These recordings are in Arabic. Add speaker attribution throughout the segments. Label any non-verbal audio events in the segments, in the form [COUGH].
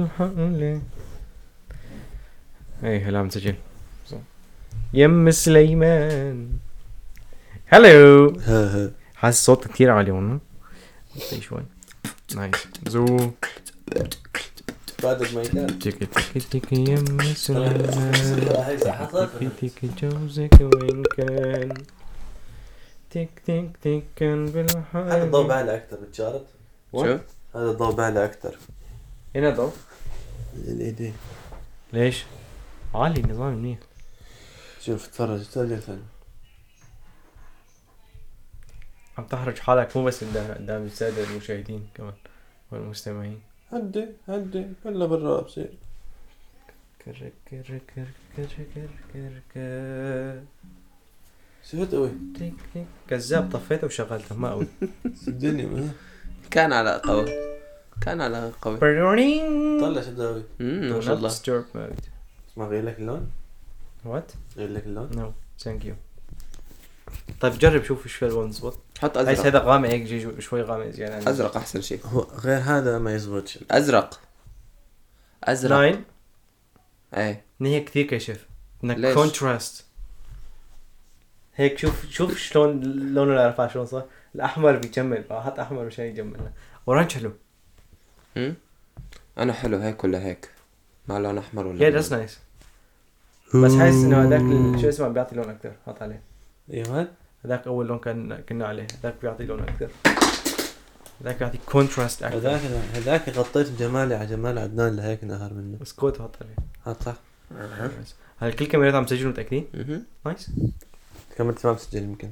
Speaker 1: بالحقل ايه لا مسجل يم سليمان هلو حاسس صوت كتير عالي والله شوي شوي نايس زو
Speaker 2: بعدك ما يكاد
Speaker 1: تيكي تيكي تيكي يم سليمان تيكي تيكي جوزك وين كان تيك تيك تيك كان
Speaker 2: هذا الضوء
Speaker 1: بالحقل
Speaker 2: بعلى اكثر بتشارت
Speaker 1: شو؟
Speaker 2: هذا الضوء بعلى اكثر
Speaker 1: هنا ضوء
Speaker 2: الايدي
Speaker 1: ليش؟ عالي النظام منيح
Speaker 2: شوف تفرج ترجع ثاني
Speaker 1: عم تحرج حالك مو بس قدام قدام السادة المشاهدين كمان والمستمعين
Speaker 2: هدي هدي كله برا بصير
Speaker 1: كر كر كر كر كر كر كر
Speaker 2: سهت قوي
Speaker 1: تيك تيك كذاب طفيته وشغلته ما
Speaker 3: [LAUGHS]
Speaker 1: قوي
Speaker 2: الدنيا ما
Speaker 3: كان على قوي كان على قوي
Speaker 2: طلع شبداوي
Speaker 3: امم ما شاء
Speaker 1: Not
Speaker 3: الله
Speaker 1: disturb mode.
Speaker 2: ما غير لك اللون
Speaker 1: What?
Speaker 2: غير لك اللون
Speaker 1: No. Thank you. طيب جرب شوف ايش في الوان زبط
Speaker 3: حط
Speaker 1: بس
Speaker 3: ازرق
Speaker 1: هذا غامق هيك جي- شوي غامق زيادة
Speaker 3: ازرق احسن شيء
Speaker 2: هو غير هذا ما يزبطش
Speaker 3: ازرق ازرق
Speaker 1: ناين
Speaker 3: ايه
Speaker 1: إن هي كثير كشف انك
Speaker 3: ليش؟
Speaker 1: كونتراست هيك شوف شوف شلون لون الارفع شلون صار الاحمر بيجمل حط احمر مشان يجمل اورانج حلو
Speaker 3: أمم. انا حلو هيك ولا هيك مع لون احمر ولا
Speaker 1: yeah
Speaker 3: بلون.
Speaker 1: that's nice بس حاسس انه هذاك ال- شو اسمه بيعطي لون اكثر حط عليه
Speaker 2: ايوه هاد
Speaker 1: هذاك اول لون كان كنا عليه هذاك بيعطي لون اكثر هذاك بيعطي كونتراست اكثر
Speaker 2: هذاك هذاك غطيت جمالي على جمال عدنان لهيك نهار منه
Speaker 1: سكوت حط عليه
Speaker 2: هاد صح
Speaker 1: هل كل الكاميرات عم تسجل متاكدين؟
Speaker 3: أمم.
Speaker 1: نايس
Speaker 2: كاميرتي ما مسجل يمكن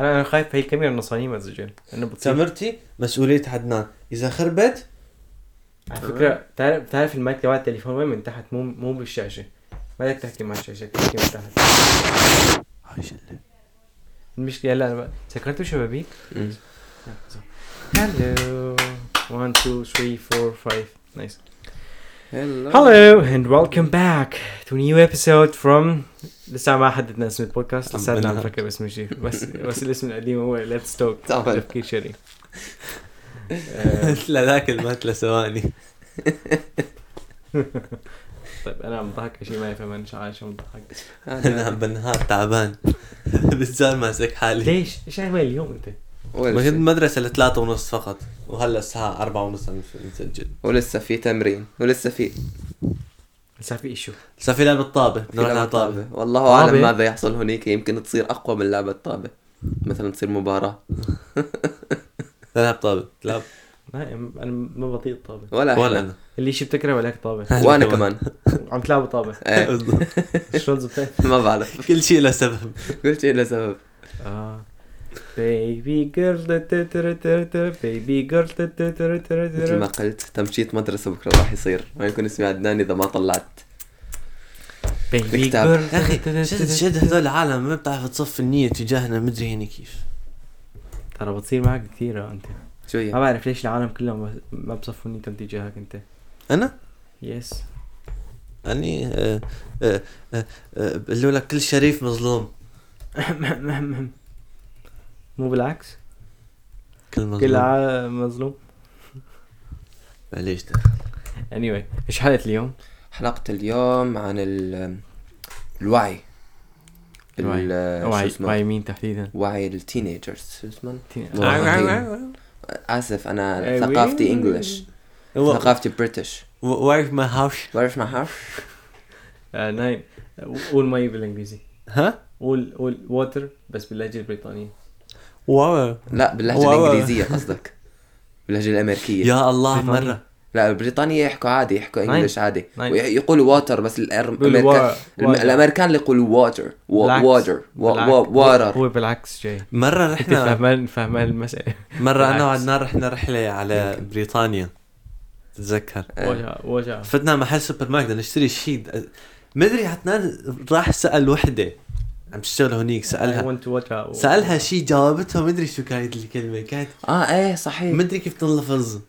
Speaker 1: انا انا خايف هي الكاميرا النصرانيه ما تسجل انه بتصير
Speaker 2: كاميرتي مسؤولية عدنان إذا خربت
Speaker 1: على فكره بتعرف بتعرف المايك تبع التليفون وين من تحت مو مو بالشاشه ما بدك تحكي مع الشاشه تحكي من تحت
Speaker 2: هاي شلة
Speaker 1: المشكله هلا انا ب- سكرتوا شبابيك؟
Speaker 3: أمم.
Speaker 1: هلو 1 2 3 4 5 نايس
Speaker 3: هلا
Speaker 1: Hello and welcome back to a new episode from لسه ما حددنا اسم البودكاست لسه عم
Speaker 2: عم بنلعب.
Speaker 1: نفكر باسم الشيء بس بس الاسم القديم هو ليتس توك
Speaker 3: طبعاً.
Speaker 1: تفكير شري
Speaker 2: [LAUGHS]
Speaker 1: آه،
Speaker 2: لا ذاك المات ثواني
Speaker 1: طيب انا عم بضحك شيء ما يفهم انا عايش عم بضحك
Speaker 2: [LAUGHS] أنا عم بنهار نعم، تعبان [LAUGHS] بالزال ماسك حالي
Speaker 1: ليش؟ ايش عمل اليوم انت؟
Speaker 2: ما كنت
Speaker 3: ولسه
Speaker 2: مدرسة لثلاثة ونص فقط وهلا الساعة أربعة ونص عم نسجل
Speaker 3: ولسه في تمرين ولسه في
Speaker 1: لسه في ايشو
Speaker 2: لسه في لعبة طابة
Speaker 3: في
Speaker 2: نروح
Speaker 3: لعبة
Speaker 2: على طابة
Speaker 3: طابة والله أعلم
Speaker 1: طابة؟
Speaker 3: ماذا يحصل هناك يمكن تصير أقوى من لعبة طابة مثلا تصير مباراة
Speaker 2: تلعب طابة تلعب
Speaker 1: ما انا يعني ما بطيء الطابه
Speaker 3: ولا إحنا
Speaker 2: ولا
Speaker 3: ولا,
Speaker 2: أنا
Speaker 1: اللي شي بتكره ولاك طابه
Speaker 2: [LAUGHS] أنا
Speaker 3: وأنا
Speaker 2: كمان.
Speaker 3: كمان
Speaker 1: [LAUGHS] عم تلعبوا طابه
Speaker 3: إيه
Speaker 2: بالضبط.
Speaker 1: شلون زبطت؟
Speaker 3: ما بعرف [LAUGHS]
Speaker 2: كل شيء له سبب
Speaker 3: كل شيء له سبب
Speaker 1: اه بيبي جيرل بيبي
Speaker 3: مثل ما
Speaker 1: جيرل
Speaker 3: قلت تمشيط مدرسة بكرة راح يصير ما يكون اسمي عدنان إذا ما طلعت
Speaker 1: بيبي
Speaker 3: كتاب.
Speaker 1: جيرل
Speaker 2: يا أخي شد شد هذول العالم ما بتعرف تصف النية تجاهنا مدري هني كيف
Speaker 1: ترى بتصير معك كثير آه، انت
Speaker 3: شو
Speaker 1: ما
Speaker 3: هي؟
Speaker 1: بعرف ليش العالم كلهم ما- ما بصفوا نيتهم تجاهك انت
Speaker 2: أنا؟
Speaker 1: يس
Speaker 2: أني آه، آه، آه، آه، بقول لك كل شريف مظلوم
Speaker 1: [LAUGHS] مو بالعكس
Speaker 2: كل مظلوم
Speaker 1: كل عالم مظلوم
Speaker 2: معليش ده.
Speaker 1: anyway ايش حلقه اليوم؟
Speaker 3: حلقة اليوم عن ال الوعي
Speaker 1: الوعي.
Speaker 3: ال- آه، شو
Speaker 1: وعي
Speaker 3: اسمه؟
Speaker 1: وعي مين تحديدا؟
Speaker 3: وعي التينيجرز شو اسمه؟
Speaker 1: والله.
Speaker 3: آسف أنا
Speaker 1: إيه،
Speaker 3: ثقافتي
Speaker 1: وي-
Speaker 3: انجلش
Speaker 2: و-
Speaker 3: ثقافتي بريتش
Speaker 2: و- واقف ما هاوش
Speaker 3: بعرف ما حرف
Speaker 1: آه، نايم قول مي بالانجليزي
Speaker 2: ها؟
Speaker 1: قول قول ووتر بس باللهجه البريطانيه
Speaker 2: واو
Speaker 3: لا باللهجة
Speaker 2: واو.
Speaker 3: الإنجليزية قصدك باللهجة الأمريكية
Speaker 2: يا الله
Speaker 1: بريطانيا.
Speaker 2: مرة
Speaker 3: لا بريطانيا يحكوا عادي يحكوا
Speaker 1: نعم.
Speaker 3: انجلش عادي
Speaker 1: نعم.
Speaker 3: ويقولوا واتر بس الامريكان
Speaker 1: بالوا- water.
Speaker 3: الامريكان اللي يقولوا واتر
Speaker 1: بالعكس.
Speaker 3: واتر
Speaker 1: بالعكس.
Speaker 3: واتر
Speaker 1: هو بالعكس جاي
Speaker 2: مرة
Speaker 1: انت
Speaker 2: رحنا
Speaker 1: فهمان فهمان المساله
Speaker 2: [LAUGHS] مرة
Speaker 1: بالعكس.
Speaker 2: أنا وعدنان رحنا رحلة على بريطانيا تتذكر
Speaker 1: وجع وجع
Speaker 2: فتنا محل سوبر ماركت نشتري شيء مدري عدنان راح سأل وحدة عم تشتغل هونيك
Speaker 1: I
Speaker 2: سألها
Speaker 1: want to watch out.
Speaker 2: سألها شيء جاوبتها مدري شو كانت الكلمة كانت
Speaker 3: اه ايه صحيح
Speaker 2: مدري كيف تنلفظ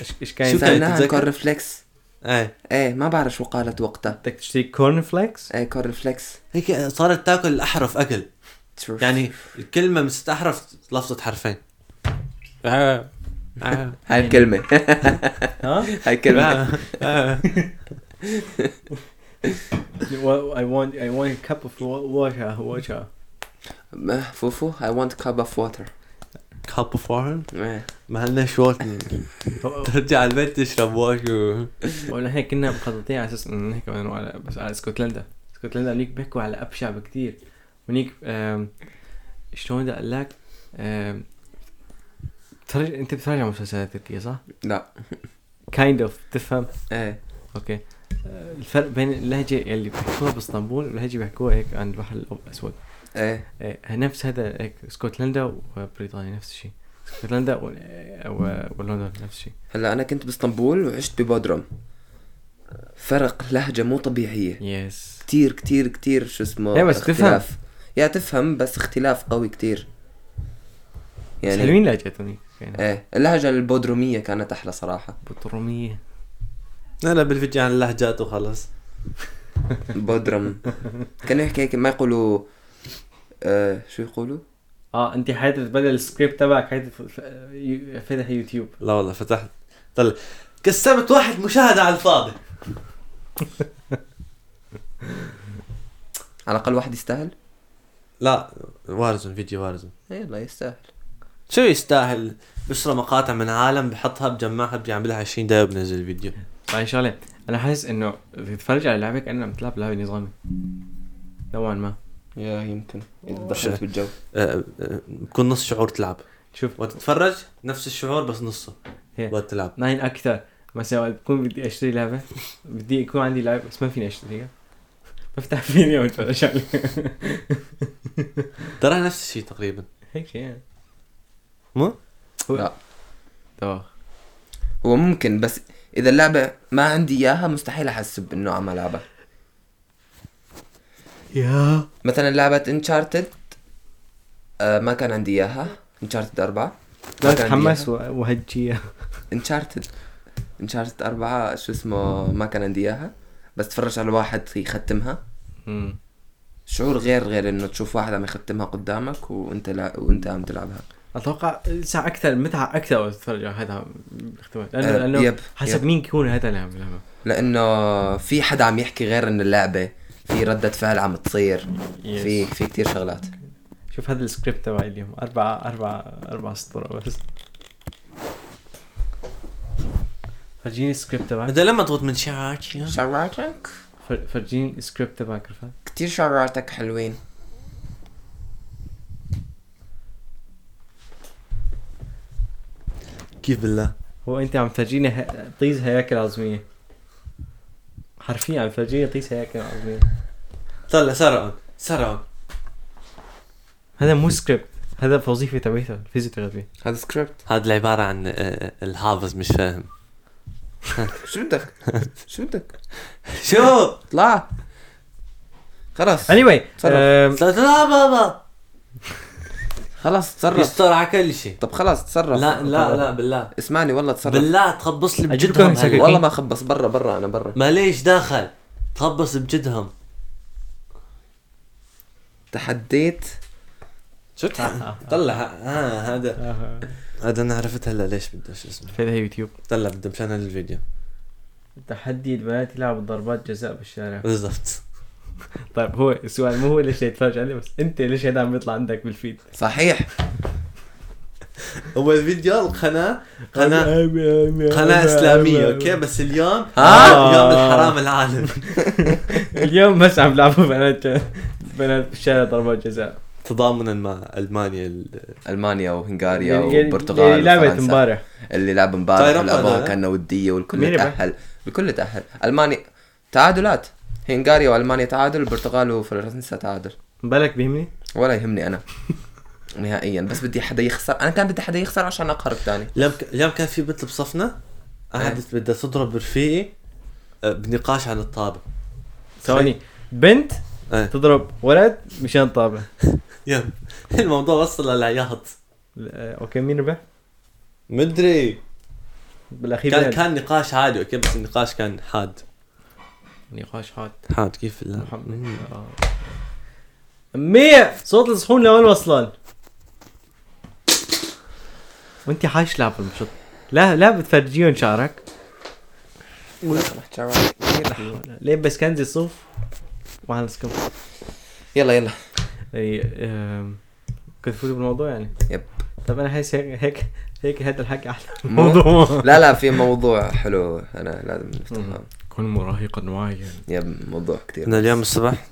Speaker 1: ايش ايش كان
Speaker 2: شو كان؟
Speaker 3: سألناها عن
Speaker 2: تتذكر؟
Speaker 3: كورنفليكس
Speaker 2: ايه
Speaker 3: ايه ما بعرف شو قالت وقتها
Speaker 1: بدك تشتري كورن
Speaker 2: [LAUGHS]
Speaker 1: فليكس
Speaker 3: ايه كورنفليكس
Speaker 2: هيك صارت تاكل الأحرف أكل
Speaker 3: Truth.
Speaker 2: يعني الكلمة من ست أحرف لفظت حرفين آه.
Speaker 3: هاي الكلمة [LAUGHS]
Speaker 1: ها؟
Speaker 3: هاي الكلمة
Speaker 2: [LAUGHS] آه. آه.
Speaker 1: Well, I want I want a cup of wa- water water.
Speaker 3: ما- فوفو I want cup of water
Speaker 2: كاب اوف وارن
Speaker 3: إيه.
Speaker 2: ما لنا شوطني ترجع على البيت تشرب واشو
Speaker 1: ولا هيك كنا مخططين على اساس انه نحكي عن- على بس على اسكتلندا اسكتلندا هنيك بيحكوا على ابشع بكتير هنيك آم، شلون بدي اقول لك آم، بتفرج انت بتتفرج على مسلسلات تركية صح؟
Speaker 3: لا
Speaker 1: كايند اوف تفهم
Speaker 3: ايه
Speaker 1: اوكي آه، الفرق بين اللهجة يلي بيحكوها باسطنبول واللهجة بيحكوها هيك عند البحر الاسود
Speaker 3: ايه
Speaker 1: آه، نفس هذا هيك اسكتلندا وبريطانيا نفس الشيء اسكتلندا و- آه، و- ولندن نفس الشيء
Speaker 3: هلا انا كنت باسطنبول وعشت ببودرم فرق لهجة مو طبيعية
Speaker 1: يس
Speaker 3: كتير كتير كتير شو اسمه
Speaker 1: إيه، بس تفهم.
Speaker 3: اختلاف. يا تفهم بس اختلاف قوي كتير
Speaker 1: يعني حلوين لهجتهم هيك يعني
Speaker 3: ايه اللهجة البودرومية كانت احلى صراحة
Speaker 1: بطرمية
Speaker 2: انا بنفجع عن اللهجات وخلص [LAUGHS]
Speaker 3: بودرم كانوا يحكي هيك ما يقولوا آه شو يقولوا؟
Speaker 1: اه انت حياتك بدل السكريبت تبعك حياتك فاتح يوتيوب
Speaker 2: لا والله فتحت طلع كسبت واحد مشاهدة على الفاضي
Speaker 3: على الاقل واحد يستاهل؟
Speaker 2: لا وارزون فيديو وارزون
Speaker 3: يلا يستاهل
Speaker 2: شو يستاهل بشرى مقاطع من عالم بحطها بجمعها بجي عاملها 20 دقيقة بنزل أه، فيديو
Speaker 1: بعدين شغله انا طيب، حاسس انه تتفرج على لعبك انا عم تلعب لعبه نظامي نوعا ما
Speaker 3: يا يمكن اذا
Speaker 2: دخلت
Speaker 3: دخلت بالجو
Speaker 2: أه، أه، بكون نص شعور تلعب
Speaker 1: شوف
Speaker 2: وقت تتفرج نفس الشعور بس نصه
Speaker 1: هي.
Speaker 2: وقت تلعب
Speaker 1: ناين اكثر مثلا وقت بكون بدي اشتري لعبه بدي يكون عندي لعبه بس ما فيني اشتريها بفتح [LAUGHS] فيني واتفرج عليها
Speaker 2: ترى نفس الشيء تقريبا
Speaker 1: هيك شيء يعني
Speaker 2: مو؟
Speaker 1: هو-
Speaker 3: لا.
Speaker 1: طبعا
Speaker 3: هو ممكن بس اذا اللعبة ما عندي اياها مستحيل احسب انه عم العبها
Speaker 1: يا
Speaker 3: مثلا لعبة انشارتد آه ما كان عندي اياها انشارتد أربعة
Speaker 1: لا تتحمس وهجيها
Speaker 3: انشارتد انشارتد أربعة شو اسمه ما كان عندي اياها بس تفرج على واحد يختمها شعور غير غير انه تشوف واحد عم يختمها قدامك وانت لا وانت عم تلعبها
Speaker 1: اتوقع ساعة اكثر متعه اكثر وقت تتفرج على هذا باختبار لانه
Speaker 3: آه،
Speaker 1: لانه
Speaker 3: يب،
Speaker 1: حسب
Speaker 3: يب.
Speaker 1: مين يكون هذا اللي عم يلعبها
Speaker 3: لانه في حدا عم يحكي غير ان اللعبه في ردة فعل عم تصير
Speaker 1: Yes.
Speaker 3: في في كثير شغلات
Speaker 1: شوف هذا السكريبت تبعي اليوم أربعة أربعة أربعة سطور بس فرجيني السكريبت تبعك
Speaker 2: هذا لما تضغط من شعرك يا.
Speaker 3: شعراتك
Speaker 1: فر- فرجيني السكريبت تبعك رفعت
Speaker 3: كثير شعراتك حلوين
Speaker 2: كيف بالله
Speaker 1: هو أنت عم تفرجيني ه- طيز هياكل عظمية حرفيا عم تفرجيني طيز هياكل عظمية
Speaker 2: طلع سرعون سرعون
Speaker 1: هذا مو سكريبت هذا الوظيفة تبعته الفيزيوثيرابي
Speaker 3: هذا سكريبت
Speaker 2: هذا العبارة عن آه، الحافظ مش فاهم
Speaker 3: شو [LAUGHS] بدك شو بدك
Speaker 2: شو؟
Speaker 3: اطلع خلص
Speaker 1: anyway
Speaker 3: تصرف.
Speaker 1: آم،
Speaker 2: لا لا بابا
Speaker 3: خلص تصرف
Speaker 2: يستر على كل شيء
Speaker 3: طب خلص تصرف
Speaker 2: لا لا لا بالله
Speaker 3: اسمعني والله تصرف
Speaker 2: بالله تخبص لي
Speaker 1: أجيب
Speaker 2: بجدهم
Speaker 1: لكم
Speaker 2: هلا.
Speaker 1: سكاكين.
Speaker 2: والله
Speaker 3: والله ما خبص برا برا انا برا
Speaker 2: ماليش دخل تخبص بجدهم
Speaker 3: تحديت
Speaker 2: شفت طلع ها هذا
Speaker 1: آه،
Speaker 2: آه. هذا انا عرفت هلا ليش بده شو اسمه
Speaker 1: هذا يوتيوب
Speaker 2: طلع بده مشان الفيديو
Speaker 1: تحدي البنات يلعبوا ضربات جزاء بالشارع
Speaker 2: بالضبط
Speaker 1: طيب هو السؤال مو هو ليش يتفرج عليه بس انت ليش هذا عم يطلع عندك بالفيد
Speaker 3: صحيح
Speaker 2: هو الفيديو القناه قناه قناه اسلاميه اوكي بس اليوم
Speaker 1: آه.
Speaker 2: يوم الحرام العالم
Speaker 1: اليوم بس عم بيلعبوا بنات بنات بالشارع ضربات جزاء
Speaker 2: [LAUGHS] تضامنا مع المانيا ال-
Speaker 3: المانيا وهنغاريا
Speaker 1: يعني- يعني
Speaker 3: وبرتغال
Speaker 1: لعبت
Speaker 3: وفرنسا
Speaker 1: امبارح
Speaker 3: اللي لعب امبارح
Speaker 2: طيب،
Speaker 3: والابوها
Speaker 2: ربنا.
Speaker 3: كان وديه
Speaker 1: مين
Speaker 3: والكل
Speaker 1: ربح؟
Speaker 3: تاهل الكل تاهل المانيا تعادلات هنغاريا والمانيا تعادل البرتغال وفرنسا تعادل
Speaker 1: بالك بيهمني؟
Speaker 3: ولا يهمني [LAUGHS] انا نهائيا بس بدي حدا يخسر انا كان بدي حدا يخسر عشان اقهر الثاني
Speaker 2: اليوم ك- اليوم كان في بنت بصفنا قعدت بدها تضرب رفيقي آه، بنقاش عن الطابه
Speaker 1: ثواني بنت
Speaker 2: إيه.
Speaker 1: تضرب ولد مشان طابه
Speaker 2: يلا [LAUGHS] الموضوع وصل للعياط
Speaker 1: لا، اوكي مين ربح؟
Speaker 2: مدري
Speaker 1: بالاخير
Speaker 2: كان
Speaker 1: بلد.
Speaker 2: كان نقاش عادي اوكي بس النقاش كان حاد
Speaker 1: نقاش حاد
Speaker 2: حاد كيف لا
Speaker 1: محمد آه. أمية صوت الصحون لوين وصلان؟ وانت حاش لعب المشط لا لا بتفرجيهم شعرك
Speaker 3: رح شعرك كثير رح-
Speaker 1: لبس كنزي صوف وهنسكم
Speaker 3: يلا يلا
Speaker 1: اي أم، كنت فوت بالموضوع يعني
Speaker 3: يب.
Speaker 1: طب انا حاسس هيك هيك هيك هذا الحكي احلى
Speaker 3: مو-
Speaker 1: موضوع
Speaker 3: لا لا في موضوع حلو انا لازم نفتحه
Speaker 1: مم. كن مراهقا واعيا
Speaker 3: يب موضوع كثير
Speaker 2: انا اليوم الصبح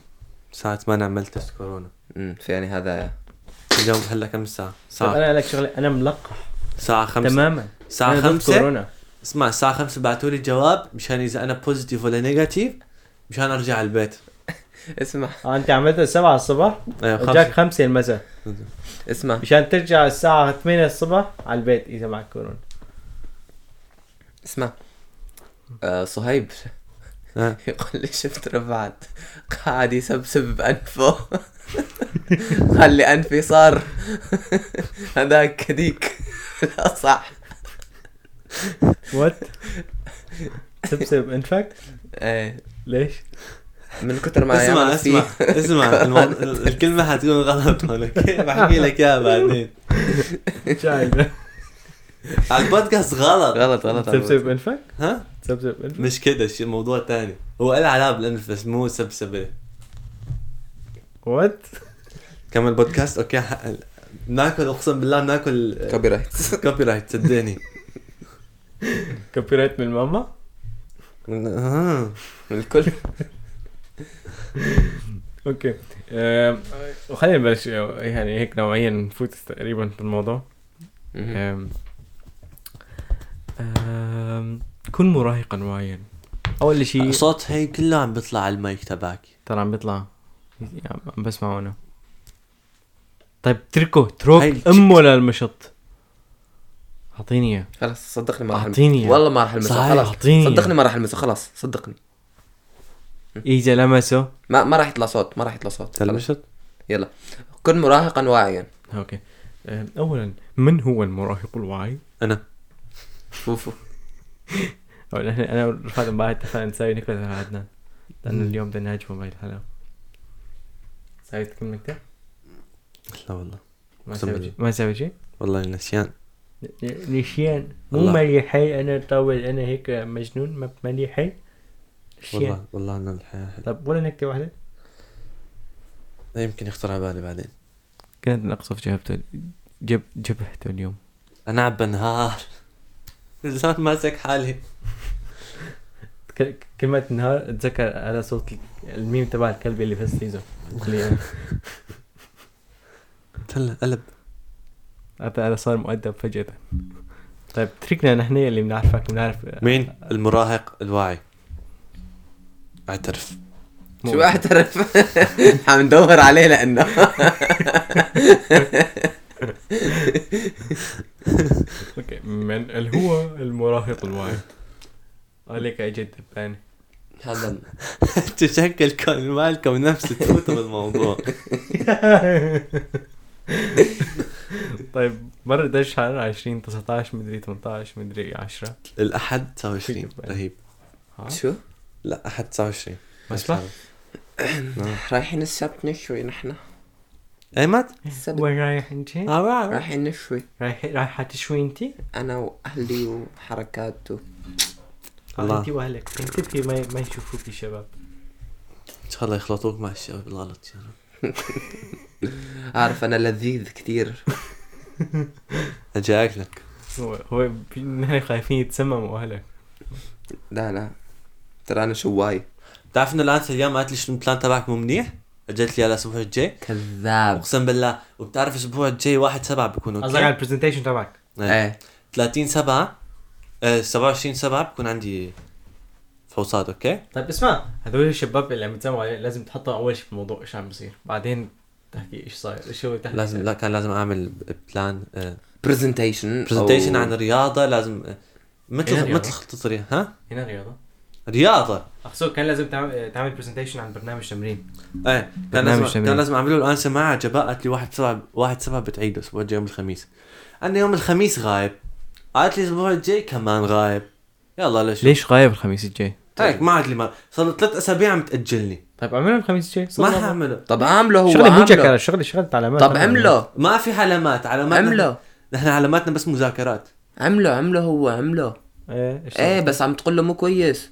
Speaker 2: الساعة 8 عملت تست كورونا
Speaker 3: فيعني يعني هذا
Speaker 2: اليوم هلا كم الساعة؟
Speaker 1: طب
Speaker 2: ساعة
Speaker 1: انا لك شغله انا ملقح
Speaker 2: الساعة 5
Speaker 1: تماما
Speaker 2: الساعة
Speaker 1: أنا ضد
Speaker 2: 5
Speaker 1: كورونا
Speaker 2: اسمع الساعة 5 بعتوا لي جواب مشان اذا انا بوزيتيف ولا نيجاتيف مشان ارجع على البيت
Speaker 3: اسمع
Speaker 1: آه، انت عملتها 7 الصبح
Speaker 2: ايوه
Speaker 1: رجعك
Speaker 2: خمسة
Speaker 1: 5 المساء
Speaker 3: اسمع
Speaker 1: مشان ترجع الساعه 8 الصبح على البيت اذا معك كورونا
Speaker 3: اسمع آه، صهيب
Speaker 2: آه.
Speaker 3: يقول لي شفت رفعت قاعد يسبسب بأنفه قال لي أنفي صار هذاك كديك لا صح
Speaker 1: وات تبسب انفك
Speaker 3: ايه ليش؟ من كتر ما
Speaker 2: اسمع
Speaker 3: يعمل
Speaker 2: اسمع
Speaker 3: فيه [LAUGHS]
Speaker 2: [LAUGHS] اسمع المو- الكلمة حتكون غلط هونك [LAUGHS] بحكي لك اياها بعدين
Speaker 1: شايف
Speaker 2: على البودكاست غلط
Speaker 3: غلط غلط
Speaker 1: تبسب
Speaker 3: غلط.
Speaker 1: انفك
Speaker 2: ها
Speaker 1: تبسب انفك
Speaker 2: مش كده شيء موضوع تاني هو له علاقة بالانف بس مو سبسبة
Speaker 1: وات
Speaker 2: كمل بودكاست اوكي ح- ناكل اقسم
Speaker 1: [LAUGHS]
Speaker 2: بالله ناكل
Speaker 3: كوبي رايت
Speaker 2: كوبي رايت صدقني
Speaker 1: كوبي رايت من ماما
Speaker 2: آه.
Speaker 3: من الكل
Speaker 1: اوكي أم، وخلينا نبلش يعني هيك نوعيا نفوت تقريبا في الموضوع أم، أم، كن مراهقا واعيا اول شيء
Speaker 2: آه. صوت هي كله عم بيطلع على المايك تبعك
Speaker 1: ترى عم بيطلع عم بسمعه انا طيب تركه تروك
Speaker 2: هاي-
Speaker 1: امه للمشط اعطيني اياه
Speaker 3: خلاص صدقني ما راح
Speaker 1: أعطيني
Speaker 3: ألمسه. والله ما راح المسه
Speaker 2: صحيح،
Speaker 3: آه، خلاص
Speaker 1: أعطيني.
Speaker 3: صدقني ما راح المسه خلاص صدقني
Speaker 1: اذا لمسه
Speaker 3: ما ما راح يطلع صوت ما راح يطلع صوت خلاص.
Speaker 2: تلمشت
Speaker 3: يلا كن مراهقا واعيا
Speaker 1: اوكي أم، اولا من هو المراهق الواعي؟
Speaker 2: انا
Speaker 3: شوفوا
Speaker 1: أو نحن انا ورفعت امبارح اتفقنا نسوي نكته مع عدنان لانه اليوم بدنا نهاجمه بهاي الحلقه سويت كم نكته؟
Speaker 2: لا والله
Speaker 1: ما
Speaker 2: أقسم
Speaker 1: سويت
Speaker 2: بالله.
Speaker 1: شي- ما سويت شيء؟
Speaker 2: والله نسيان
Speaker 1: نسيان مو
Speaker 2: والله.
Speaker 1: مليحي انا طاول انا هيك مجنون ما مليحي نسيان
Speaker 2: والله والله انا الحياه حلوه
Speaker 1: طب ولا نكته واحده؟
Speaker 2: يمكن يخطر على بالي بعدين
Speaker 1: كانت نقصف جبهته جب جبهته اليوم
Speaker 2: انا عم [LAUGHS] بنهار الزلمه ماسك حالي
Speaker 1: ك- كلمة نهار اتذكر هذا صوت الميم تبع الكلب اللي بس ليزو اللي-
Speaker 2: هلا قلب
Speaker 1: هذا هذا صار مؤدب فجأة طيب تركنا نحن اللي بنعرفك بنعرف
Speaker 2: مين المراهق الواعي اعترف [LAUGHS]
Speaker 1: مو-
Speaker 3: شو اعترف [LAUGHS] عم ندور عليه لانه
Speaker 1: اوكي من ال- هو المراهق الواعي؟ عليك اجد الثاني
Speaker 3: هذا
Speaker 2: تشكل مالكم نفس التوته بالموضوع
Speaker 1: [LAUGHS] طيب مرة دش حرارة 20 19 مدري 18 مدري 10
Speaker 2: الاحد
Speaker 1: [LAUGHS]
Speaker 2: 29 رهيب
Speaker 3: [LAUGHS] شو
Speaker 2: لا احد 29
Speaker 1: بس لا.
Speaker 3: رايحين السبت نشوي نحن
Speaker 2: اي مات
Speaker 3: السبت
Speaker 1: وين رايح انت؟
Speaker 3: رايحين نشوي
Speaker 1: رايح رايحة تشوي انت؟
Speaker 3: انا واهلي وحركات و-
Speaker 2: الله.
Speaker 1: انت واهلك انت في ما ما يشوفوك الشباب
Speaker 2: ان شاء الله يخلطوك مع الشباب الغلط يا رب
Speaker 3: عارف انا لذيذ كثير
Speaker 2: اجي اكلك
Speaker 1: هو هو بي- نحن خايفين يتسمموا اهلك
Speaker 3: لا لا ترى انا شواي
Speaker 2: بتعرف انه الان اليوم قالت لي شنو البلان تبعك مو منيح؟ اجت لي على الاسبوع الجاي
Speaker 3: كذاب
Speaker 2: اقسم بالله وبتعرف الاسبوع الجاي واحد سبعة بيكون
Speaker 1: قصدك على البرزنتيشن تبعك
Speaker 2: إيه.
Speaker 3: ايه
Speaker 2: 30 سبعة آه، 27 سبعة بكون عندي فحوصات اوكي؟
Speaker 1: طيب اسمع هذول الشباب اللي عم يتسموا عليه لازم تحطهم اول شيء في الموضوع ايش عم بيصير بعدين تحكي ايش صاير ايش هو تحكي
Speaker 2: لازم لا كان لازم إيه، اعمل بلان
Speaker 3: برزنتيشن
Speaker 2: برزنتيشن عن الرياضة لازم آه،
Speaker 1: إيه
Speaker 2: مثل
Speaker 1: رياضة؟
Speaker 2: مثل خطة الرياضة ها؟
Speaker 1: هنا رياضه
Speaker 2: رياضة
Speaker 1: اقصد كان لازم تعمل تعمل برزنتيشن عن برنامج تمرين
Speaker 2: ايه كان
Speaker 1: برنامج
Speaker 2: لازم
Speaker 1: جميل.
Speaker 2: كان لازم اعمله الان سماعة جباء قالت لي واحد سبعة واحد سبعة بتعيده الاسبوع الجاي يوم الخميس انا يوم الخميس غايب قالت لي الاسبوع الجاي كمان غايب يلا ليش
Speaker 1: ليش غايب الخميس الجاي؟
Speaker 2: هيك ما عاد لي ما صار له ثلاث اسابيع عم تاجلني
Speaker 1: طيب اعملها الخميس الجاي
Speaker 2: ما حعمله
Speaker 3: طب عامله هو
Speaker 1: شغلة مذكرة
Speaker 3: عامله
Speaker 1: شغلة شغلة علامات
Speaker 3: طب عمله
Speaker 2: ما في علامات علامات
Speaker 3: عمله
Speaker 2: نحن علاماتنا بس مذاكرات
Speaker 3: عمله عمله هو عمله
Speaker 1: ايه ايش
Speaker 3: ايه بس عم تقول له مو كويس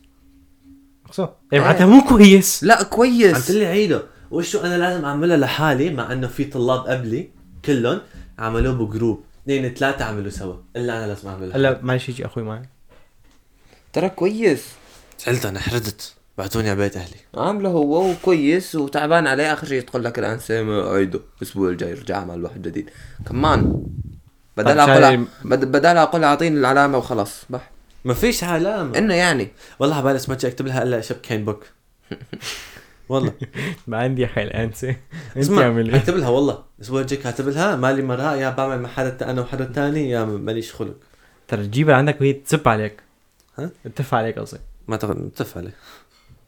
Speaker 1: خصوصا ايه معناتها مو كويس
Speaker 3: لا
Speaker 2: عم
Speaker 3: كويس
Speaker 2: تقول لي عيده وشو انا لازم اعملها لحالي مع انه في طلاب قبلي كلهم عملوه بجروب اثنين ثلاثه عملوا سوا الا انا لازم اعملها
Speaker 1: هلا معلش يجي اخوي معي [LAUGHS]
Speaker 3: ترى كويس
Speaker 2: زعلت انا حردت بعتوني على بيت اهلي
Speaker 3: عامله هو وكويس وتعبان عليه اخر شيء تقول لك الان سام عيده الاسبوع الجاي رجع اعمل واحد جديد كمان بدل
Speaker 1: طب
Speaker 3: اقول
Speaker 1: شايف-
Speaker 3: بد- بدل اقول اعطيني العلامه وخلاص بح
Speaker 2: ما فيش علامه
Speaker 3: انه يعني
Speaker 2: والله على بالي اسمها اكتب لها الا شب كين بوك والله
Speaker 1: ما عندي يا اخي الانسه انت
Speaker 2: اسمع
Speaker 1: اعمل ايه
Speaker 2: كاتب لها والله الاسبوع الجاي كاتب لها مالي مراه يا بعمل مع حدا انا وحدا تاني يا ماليش خلق
Speaker 1: ترى تجيبها عندك وهي تسب عليك
Speaker 2: ها؟
Speaker 1: تف عليك قصدي
Speaker 2: ما تغ... تفعلي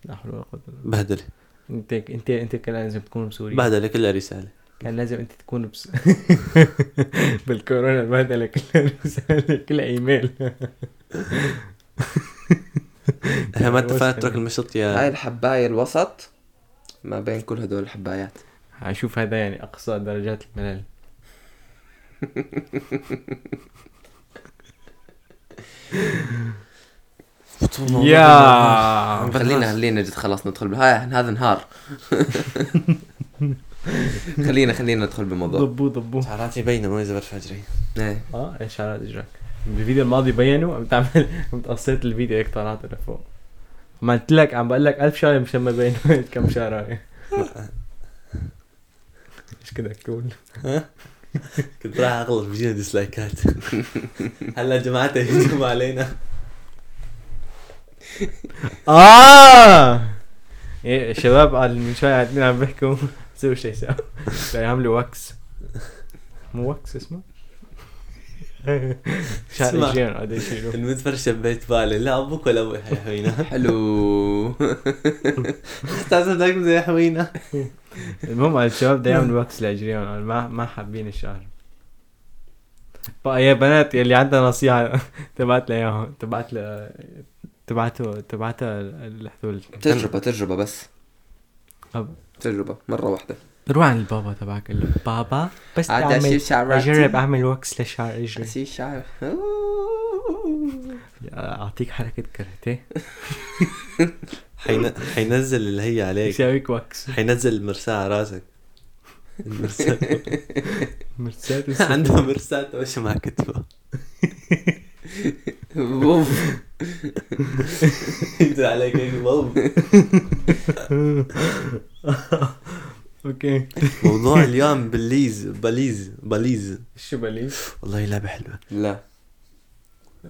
Speaker 1: لا حول ولا قوه إلا بالله.
Speaker 2: بهدلي
Speaker 1: انت انت انت كان لازم تكون بسوريا
Speaker 2: بهدلي كلها رساله
Speaker 1: كان لازم انت تكون بس... [LAUGHS] بالكورونا البهدله كلها رسالة، كلها [LAUGHS] ايميل
Speaker 2: هي ما اتفقت ترك المشط
Speaker 3: هاي
Speaker 2: يا
Speaker 3: الحبايه الوسط ما بين كل هدول الحبايات
Speaker 1: اشوف هذا يعني اقصى درجات الملل يا
Speaker 3: خلينا خلينا جد خلاص ندخل بهاي هذا نهار خلينا خلينا ندخل بالموضوع
Speaker 1: ضبو ضبو
Speaker 2: شعراتي باينه ما يزبر فجري
Speaker 3: ايه
Speaker 1: اه ايش شعرات اجرك بالفيديو الماضي بينوا عم تعمل عم تقصيت الفيديو هيك طلعت لفوق ما قلت لك عم بقول لك 1000 شغله مشان ما بينوا [LAUGHS] كم شعره
Speaker 2: آه.
Speaker 1: ايش كده كول
Speaker 2: كنت راح اغلط بجينا ديسلايكات هلا جماعه يهجموا علينا
Speaker 1: اه ايه الشباب قال من شوي قاعدين عم بيحكوا [LAUGHS] سووا شيء سوا يعملوا واكس مو واكس اسمه؟ شعر
Speaker 2: اسمع.
Speaker 1: اجرين قاعد يشيلوا
Speaker 2: المزفر شبيت بالي لا ابوك ولا ابوي [LAUGHS] حيحوينا
Speaker 3: حلو
Speaker 2: استاذ لك زي حوينا
Speaker 1: المهم على الشباب ده يعملوا واكس لاجريهم قال ما ما حابين الشعر بقى يا بنات يلي عندها نصيحة [LAUGHS] تبعت لي اياهم تبعت لي تبعتوا تبعتها لحدول
Speaker 3: تجربه تجربه بس
Speaker 1: طب.
Speaker 3: تجربه مره واحده
Speaker 1: روح عند البابا تبعك قول له بابا بس
Speaker 3: عاد
Speaker 1: تعمل
Speaker 3: أشيل شعراتي.
Speaker 1: اجرب اعمل واكس لشعر اجري
Speaker 3: بس الشعر
Speaker 1: اعطيك حركه كاراتيه [LAUGHS]
Speaker 2: حين... حينزل اللي هي عليك
Speaker 1: يساويك واكس
Speaker 2: حينزل المرساه على راسك المرساه
Speaker 1: [LAUGHS] مرسيدس
Speaker 2: [LAUGHS] عنده مرساه طيب، وش ما
Speaker 3: [LAUGHS]
Speaker 2: كتبه
Speaker 3: أوف.
Speaker 2: ينزل عليك هيك بوب.
Speaker 1: اوكي
Speaker 2: موضوع اليوم بليز بليز بليز
Speaker 1: شو باليز؟
Speaker 2: والله لعبه حلوه
Speaker 3: لا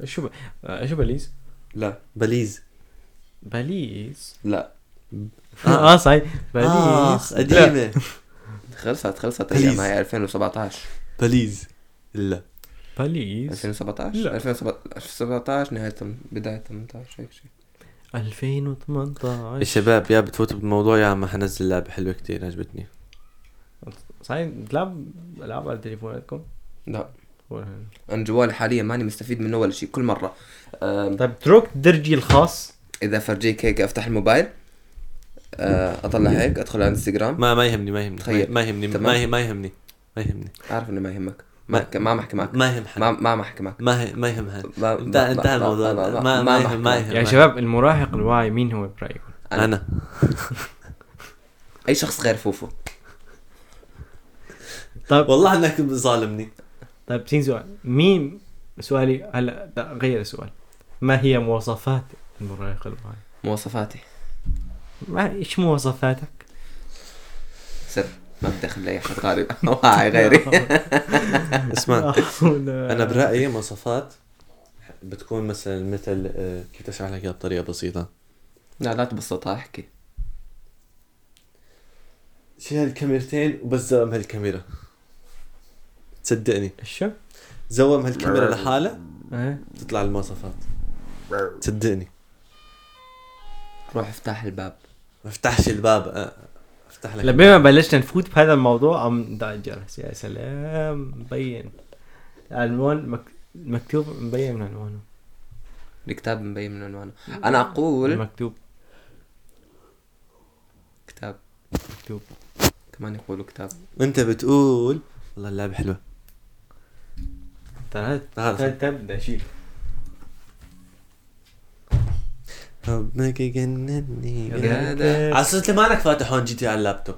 Speaker 1: شو ب... آه، شو باليز؟
Speaker 3: لا
Speaker 2: بليز
Speaker 1: باليز
Speaker 3: لا
Speaker 1: اه صحيح
Speaker 2: اخ
Speaker 1: باليز لا.
Speaker 2: قديمه
Speaker 3: خلصت خلصت
Speaker 2: بليز.
Speaker 3: ايام هاي 2017
Speaker 2: بليز لا
Speaker 1: باليز
Speaker 3: 2017
Speaker 1: لا.
Speaker 3: 2017 نهايه تم- بدايه 18 هيك شيء
Speaker 1: 2018
Speaker 2: الشباب يا بتفوتوا بالموضوع يا عم حنزل لعبه حلوه كتير عجبتني
Speaker 1: صحيح بتلعب العاب على تليفوناتكم؟
Speaker 3: لا انا جوالي حاليا ماني مستفيد منه ولا شيء كل مره أم،
Speaker 1: طيب ترك درجي الخاص
Speaker 3: اذا فرجيك هيك افتح الموبايل أه، اطلع هيك ادخل على انستغرام
Speaker 2: ما ما يهمني ما يهمني
Speaker 3: تخيل.
Speaker 2: ما يهمني
Speaker 3: طيب. تمام.
Speaker 2: ما يهمني ما يهمني ما يهمني
Speaker 3: عارف انه ما يهمك ما
Speaker 2: ما-
Speaker 3: ما عم احكي معك
Speaker 2: ما يهم حد
Speaker 3: ما ما عم احكي معك
Speaker 2: ما هي- ما يهم حد
Speaker 3: ما-
Speaker 2: [LAUGHS] انتهى
Speaker 3: ما-
Speaker 2: انتهى
Speaker 3: ما-
Speaker 2: الموضوع
Speaker 3: ما- ما-
Speaker 2: ما
Speaker 3: ما
Speaker 2: ما يهم ما
Speaker 3: بحكي
Speaker 2: يهم
Speaker 1: يا شباب المراهق الواعي مين هو برايكم؟
Speaker 2: انا
Speaker 3: اي شخص غير فوفو
Speaker 1: طيب
Speaker 2: والله انك ظالمني
Speaker 1: طيب تين سؤال مين سؤالي هلا لا، غير السؤال ما هي مواصفات المراهق الواعي؟
Speaker 3: مواصفاتي
Speaker 1: ما ايش مواصفاتك؟ [LAUGHS]
Speaker 3: سر ما بدي اخلي اي حد [LAUGHS] قاري واعي
Speaker 2: [LAUGHS]
Speaker 3: غيري [LAUGHS] آه.
Speaker 2: اسمع انا
Speaker 1: انا
Speaker 2: برايي مواصفات بتكون مثلا مثل آه، كيف اشرح لك اياها بطريقه بسيطه
Speaker 3: لا لا تبسطها احكي
Speaker 2: شيل هالكاميرتين وبس زوم هالكاميرا صدقني
Speaker 1: شو؟
Speaker 2: زوم هالكاميرا لحالها
Speaker 1: إيه؟
Speaker 2: تطلع المواصفات صدقني
Speaker 3: روح افتح الباب
Speaker 2: ما افتحش الباب آه، افتح لك
Speaker 1: لما بلشنا نفوت بهذا الموضوع عم ندع الجرس يا سلام مبين العنوان مك... مكتوب مبين من عنوانه
Speaker 3: الكتاب مبين من عنوانه انا اقول
Speaker 1: مكتوب
Speaker 3: كتاب
Speaker 1: مكتوب
Speaker 3: كمان يقولوا كتاب
Speaker 2: انت بتقول والله اللعبه حلوه
Speaker 1: ترى هذا
Speaker 2: هذا
Speaker 1: هذا تبدا اشيل
Speaker 2: حبك يجنني
Speaker 3: يا ده.
Speaker 2: على اساس ليه مالك فاتحون جي تي على اللابتوب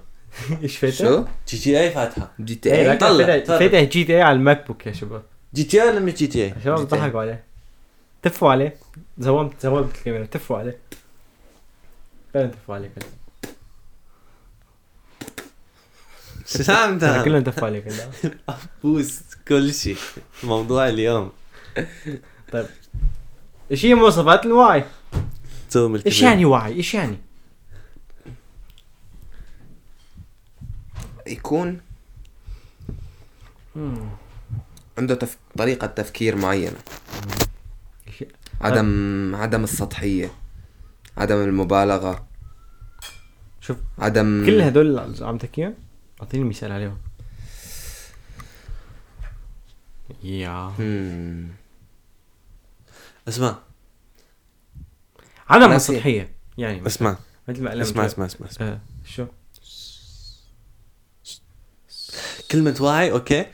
Speaker 1: ايش فتح؟
Speaker 3: شو؟
Speaker 2: جي تي اي فاتحه
Speaker 3: جي تي إيه،
Speaker 1: ايه
Speaker 3: اي
Speaker 2: طلع،
Speaker 1: فتح
Speaker 2: طلع.
Speaker 1: فتح جي تي اي على الماك بوك يا شباب
Speaker 2: جي تي اي ولا مش جي تي اي؟
Speaker 1: الشباب
Speaker 3: جي تي إيه.
Speaker 1: ضحكوا عليه تفوا عليه زومت زومت الكاميرا تفوا عليه فعلا تفوا عليه كلهم. [LAUGHS]
Speaker 2: سلام
Speaker 1: ترى
Speaker 2: تام
Speaker 1: كلهم تفوا عليه كلهم.
Speaker 2: بوس كل شيء موضوع اليوم
Speaker 1: ايش هي مواصفات الوعي؟
Speaker 2: توم الكبير.
Speaker 1: ايش يعني وعي؟ ايش يعني؟
Speaker 3: يكون عنده تف... طريقة تفكير معينة عدم عدم السطحية عدم المبالغة
Speaker 1: شوف،
Speaker 3: عدم
Speaker 1: كل هدول اللي عم تحكيهم اعطيني مثال عليهم يا
Speaker 3: مم.
Speaker 2: اسمع
Speaker 1: عدم
Speaker 3: ناسي.
Speaker 1: السطحيه يعني
Speaker 2: اسمع
Speaker 1: مثل ما قلنا
Speaker 2: اسمع
Speaker 1: من
Speaker 2: اسمع اسمع
Speaker 1: شوي. آه، شو؟
Speaker 2: كلمة واعي اوكي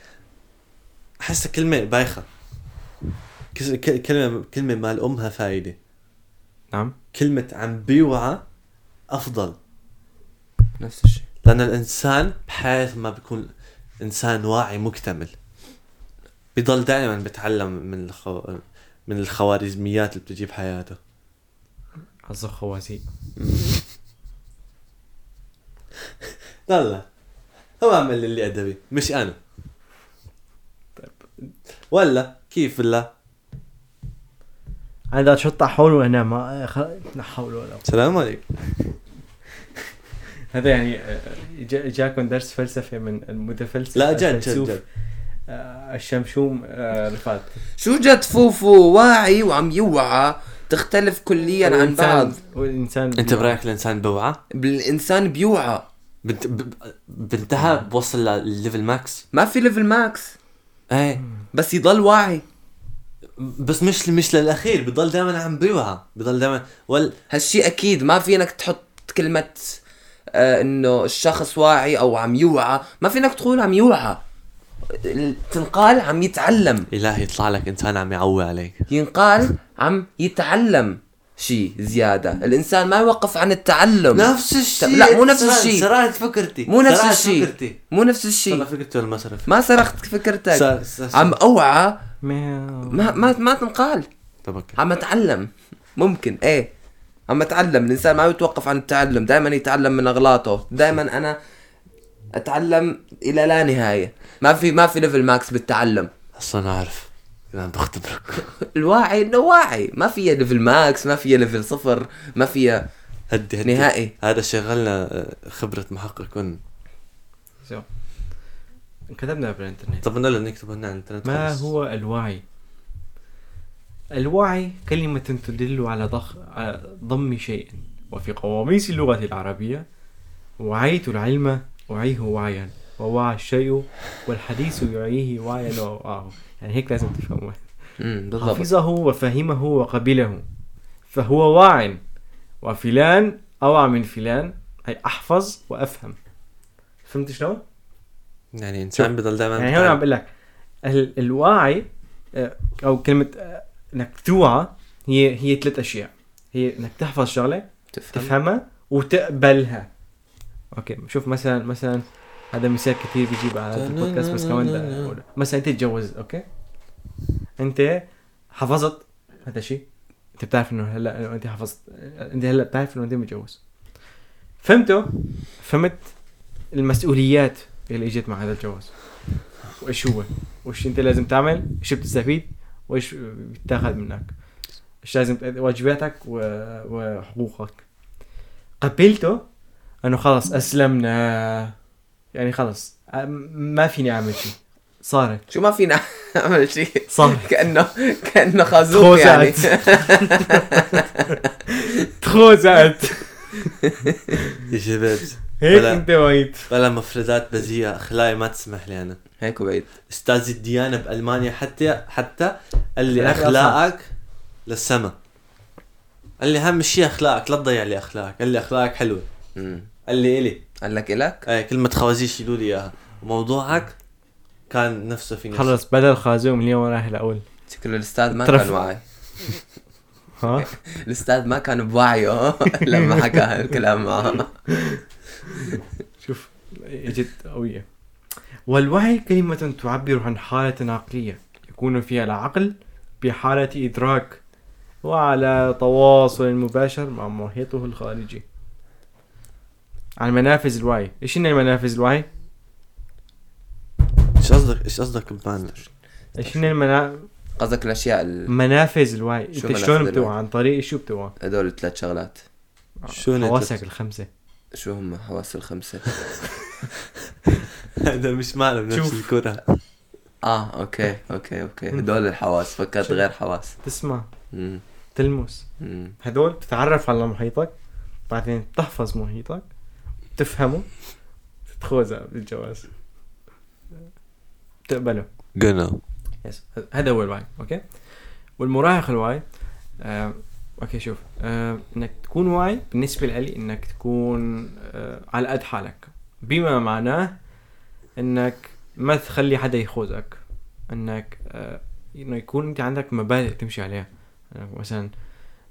Speaker 2: احسها كلمة بايخة كس- ك- كلمة كلمة مال امها فايدة
Speaker 1: نعم
Speaker 2: كلمة عم بيوعى افضل
Speaker 3: نفس الشيء
Speaker 2: لأن الإنسان بحيث ما بيكون إنسان واعي مكتمل بيضل دائما بيتعلم من الخو... من الخوارزميات اللي بتجي بحياته
Speaker 1: عز خوازيق
Speaker 2: لا لا هو عمل اللي أدبي مش أنا ولا كيف لا
Speaker 1: انا بدي اتشطح حول وانا ما خ- لا حول ولا قوة.
Speaker 2: السلام عليكم
Speaker 1: هذا يعني آه، جا- جاكم درس فلسفه من المتفلسف
Speaker 2: لا جد جد
Speaker 1: الفيلسوف،
Speaker 2: جد
Speaker 1: آه، الشمشوم آه، رفات
Speaker 3: شو جد فوفو واعي وعم يوعى تختلف كليا يعني عن بعض
Speaker 1: والانسان
Speaker 2: أنت برأيك الإنسان بوعى؟
Speaker 3: بالانسان بيوعى
Speaker 2: بنت... ب... بنتهى بوصل لليفل ماكس
Speaker 3: ما في ليفل ماكس
Speaker 2: ايه
Speaker 3: إيه. بس يضل واعي
Speaker 2: بس مش مش للاخير بضل دائما عم بيوعى بضل دائما وال
Speaker 3: هالشي اكيد ما في انك تحط كلمة آه انه الشخص واعي او عم يوعى ما فينك تقول عم يوعى ال- تنقال عم يتعلم
Speaker 2: الهي يطلع لك انسان عم يعوي عليك
Speaker 3: ينقال عم يتعلم شيء زيادة الإنسان ما يوقف عن التعلم
Speaker 2: نفس الشيء
Speaker 3: لا، مو نفس
Speaker 2: سرقت-
Speaker 3: الشيء.
Speaker 2: سرقت فكرتي
Speaker 3: مو نفس
Speaker 2: سرقت
Speaker 3: الشيء
Speaker 2: فكرتي
Speaker 3: مو نفس
Speaker 2: سرقت
Speaker 3: الشيء
Speaker 2: فكرتي ولا ما سرقت
Speaker 3: ما سرقت فكرتك
Speaker 2: سر- سر- سر-
Speaker 3: عم أوعى
Speaker 1: مياو.
Speaker 3: ما ما ما تنقال
Speaker 2: طب اوكي
Speaker 3: عم أتعلم ممكن إيه عم أتعلم الإنسان ما يتوقف عن التعلم دائما يتعلم من أغلاطه دائما أنا أتعلم إلى لا نهاية ما في ما في ليفل ماكس بالتعلم [LAUGHS]
Speaker 2: اصلا اعرف انا عم بختبرك
Speaker 3: الواعي إنه واعي ما فيها ليفل ماكس ما فيها ليفل صفر ما فيها
Speaker 2: [LAUGHS] هدي هدي
Speaker 3: نهائي
Speaker 2: هذا شغلنا آه، خبرة محققون
Speaker 1: شو؟ كتبنا بالانترنت
Speaker 2: طب نقول نكتب هنا على الانترنت
Speaker 1: ما
Speaker 2: خلص.
Speaker 1: هو الوعي؟ الوعي كلمة تدل على ضخ... على ضم شيء وفي قواميس اللغة العربية وعيت العلم أعيه وعيا ووعى الشيء والحديث يعيه وعيا ووعاه يعني هيك لازم تفهمه
Speaker 3: امم بالضبط
Speaker 1: حفظه وفهمه وقبله فهو واع وفلان أوعى من فلان أي أحفظ وأفهم فهمت شلون؟
Speaker 2: يعني انسان بضل دائما
Speaker 1: يعني هون عم بقول لك ال- الواعي آه، او كلمه آه، انك توعى هي هي ثلاث اشياء هي انك تحفظ شغله
Speaker 3: تفهم
Speaker 1: تفهمها وتقبلها اوكي شوف مثلا مثلا هذا مثال كثير بيجيب على هذا البودكاست بس كمان بدي أقوله. مثلا انت تتجوز اوكي انت حفظت هذا الشيء انت بتعرف انه هلا انه انت حفظت انت هلا بتعرف انه انت متجوز فهمته فهمت المسؤوليات اللي اجت مع هذا الجواز وايش هو وايش انت لازم تعمل ايش بتستفيد وايش بيتاخذ منك ايش لازم تأدي- واجباتك و- وحقوقك قبلته انه خلص اسلمنا يعني خلص أم- ما فيني اعمل شيء صارت
Speaker 3: شو ما فينا نعمل شيء
Speaker 1: صار
Speaker 3: كانه كانه خازوق يعني
Speaker 1: تخوزعت تخوزعت
Speaker 2: يا شباب
Speaker 1: هيك
Speaker 2: ولا-
Speaker 1: انت وعيت
Speaker 2: بلا مفردات بذيئة اخلاقي ما تسمح لي انا
Speaker 3: هيك وبعيد
Speaker 2: استاذ الديانة بالمانيا حتى حتى قال لي
Speaker 1: أخلاقي
Speaker 2: اخلاقك للسما قال لي اهم شيء اخلاقك لا تضيع لي اخلاقك قال لي اخلاقك حلوه
Speaker 3: أمم.
Speaker 2: قال لي إيه، الي
Speaker 3: قال لك الك
Speaker 2: ايه كلمة خوازيق شيلوا لي اياها موضوعك كان نفسه في نفسه
Speaker 1: خلص بدل خازوم اليوم رايح الاول
Speaker 3: شكله الاستاذ ما
Speaker 1: ترف-
Speaker 3: كان واعي
Speaker 1: ها
Speaker 3: الاستاذ ما كان بوعيه [LAUGHS] لما حكى هالكلام معه
Speaker 1: شوف اجت قوية والوعي كلمة تعبر عن حالة عقلية يكون فيها العقل بحالة إدراك وعلى تواصل مباشر مع محيطه الخارجي عن منافذ الوعي ايش هن منافذ الوعي؟
Speaker 2: ايش قصدك ايش قصدك بمان
Speaker 1: ايش هن المنا...
Speaker 3: قصدك الاشياء ال-
Speaker 1: منافذ الوعي انت
Speaker 3: منافذ
Speaker 1: شلون
Speaker 3: الوعي؟
Speaker 1: بتوعى عن طريق شو بتوعى؟
Speaker 3: هدول الثلاث شغلات
Speaker 2: شو هن
Speaker 1: حواسك
Speaker 2: الثلاث؟
Speaker 1: الخمسة
Speaker 3: شو هم حواس الخمسه
Speaker 2: هذا مش معنى بنفس
Speaker 1: شوف.
Speaker 2: الكره
Speaker 3: اه اوكي اوكي اوكي هدول الحواس فكرت غير حواس
Speaker 1: تسمع
Speaker 3: مم.
Speaker 1: تلمس
Speaker 3: مم.
Speaker 1: هدول بتتعرف على محيطك بعدين تحفظ محيطك تفهمه تتخوزه بالجواز تقبله
Speaker 2: جنو
Speaker 1: يس هذا هو الوعي اوكي والمراهق الوعي آه، اوكي شوف آه، انك تكون واعي بالنسبه لي انك تكون آه، على قد حالك بما معناه انك ما تخلي حدا يخوزك انك آه، انه يكون انت عندك مبادئ تمشي عليها أنا مثلا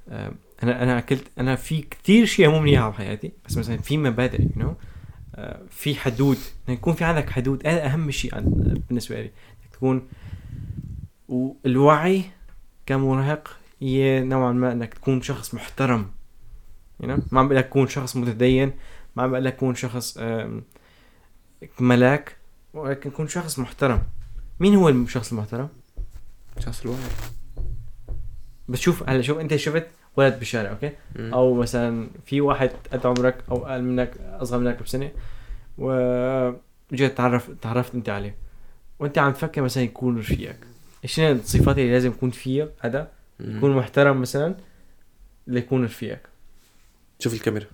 Speaker 1: آه، انا انا اكلت انا في كتير شيء مو منيحه بحياتي بس مثلا في مبادئ يو you know؟ آه، في حدود انك يكون في عندك حدود هذا اهم شيء عن- بالنسبه لي انك تكون والوعي كمراهق هي نوعا ما انك تكون شخص محترم يعني ما عم بقول لك تكون شخص متدين ما عم بقول لك تكون شخص آم، ملاك ولكن تكون شخص محترم مين هو الشخص المحترم؟
Speaker 3: شخص الواعي
Speaker 1: بتشوف هلا شوف انت شفت ولد بالشارع اوكي
Speaker 3: مم.
Speaker 1: او مثلا في واحد قد عمرك او اقل منك اصغر منك بسنه وجيت تعرف تعرفت انت عليه وانت عم تفكر مثلا يكون رفيقك ايش هي الصفات اللي لازم يكون فيها هذا
Speaker 3: مم.
Speaker 1: يكون محترم مثلا ليكون رفيقك
Speaker 2: شوف الكاميرا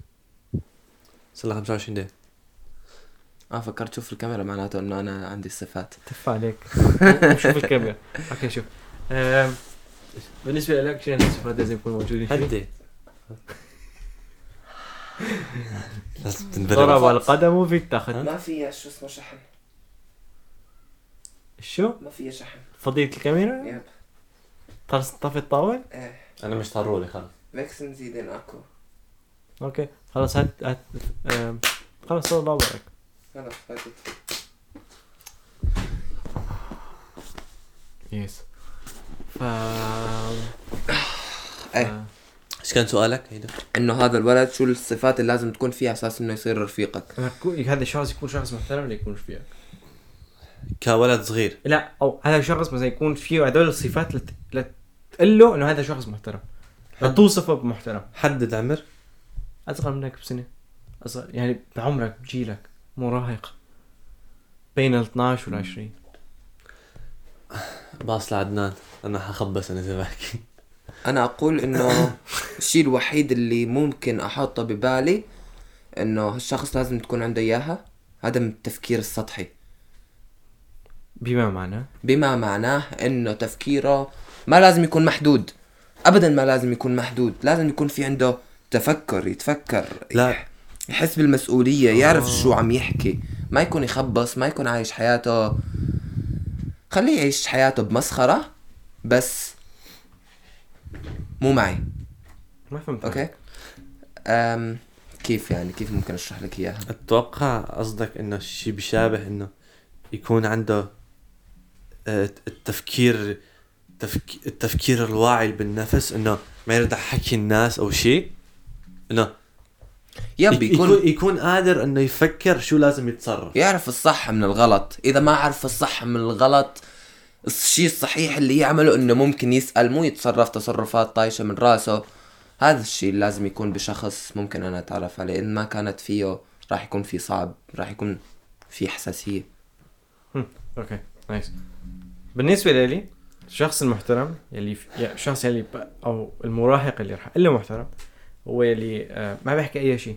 Speaker 2: صار لها 25 دقيقة
Speaker 3: اه فكرت شوف الكاميرا معناته انه انا عندي الصفات
Speaker 1: تف عليك شوف الكاميرا اوكي شوف آم، بالنسبه لك شنو الصفات لازم يكونوا موجودين فيه؟
Speaker 2: هدي لازم
Speaker 1: ضرب
Speaker 2: تنبرم
Speaker 1: القدم في التخت
Speaker 3: ما فيها شو اسمه شحن
Speaker 1: شو
Speaker 3: ما فيها شحن
Speaker 1: فضيت الكاميرا
Speaker 3: يب
Speaker 1: طرس طفي الطاولة
Speaker 3: ايه
Speaker 2: انا مش ضروري خلص
Speaker 3: فيكسن زيدين اكو
Speaker 1: اوكي خلاص هات هات آم، خلاص صور بابرك
Speaker 3: هلا فاتت
Speaker 1: يس ف
Speaker 3: إيه.
Speaker 2: ايش كان سؤالك هيدا؟
Speaker 3: انه هذا الولد شو الصفات اللي لازم تكون فيها اساس انه يصير رفيقك
Speaker 1: ف- آه، هذا الشخص يكون شخص محترم ليكون رفيقك
Speaker 2: كولد صغير
Speaker 1: لا او هذا شخص مثلا يكون فيه هدول الصفات لت... لتقول له انه هذا شخص محترم لتوصفه بمحترم
Speaker 2: حدد عمر
Speaker 1: اصغر منك بسنه اصغر يعني بعمرك بجيلك مراهق بين ال 12 وال 20
Speaker 2: باص لعدنان انا حخبص انا زي باكي
Speaker 3: انا اقول انه الشيء الوحيد اللي ممكن احطه ببالي انه هالشخص لازم تكون عنده اياها عدم التفكير السطحي
Speaker 1: بما معناه
Speaker 3: بما معناه انه تفكيره ما لازم يكون محدود ابدا ما لازم يكون محدود لازم يكون في عنده تفكر يتفكر
Speaker 2: لا.
Speaker 3: يحس بالمسؤوليه يعرف شو عم يحكي ما يكون يخبص ما يكون عايش حياته خليه يعيش حياته بمسخره بس مو معي
Speaker 1: ما فهمت
Speaker 3: اوكي أم كيف يعني كيف ممكن اشرح لك اياها
Speaker 2: اتوقع قصدك انه شيء بيشابه انه يكون عنده آه، التفكير تفك... التفكير الواعي بالنفس انه ما يرضى حكي الناس او شيء انه يك-
Speaker 3: يب
Speaker 2: [LAUGHS]
Speaker 3: يكون
Speaker 2: يكون يكون قادر انه يفكر شو لازم يتصرف
Speaker 3: يعرف الصح من الغلط اذا ما عرف الصح من الغلط الشيء الصحيح اللي يعمله انه ممكن يسال مو يتصرف تصرفات طايشه من راسه هذا الشيء اللي لازم يكون بشخص ممكن انا اتعرف عليه ان ما كانت فيه راح يكون في صعب راح يكون في حساسيه
Speaker 1: اوكي نايس بالنسبه لي الشخص المحترم يلي في... يعني الشخص يلي ب... او المراهق اللي رح اقول له محترم هو يلي آه ما بيحكي اي شيء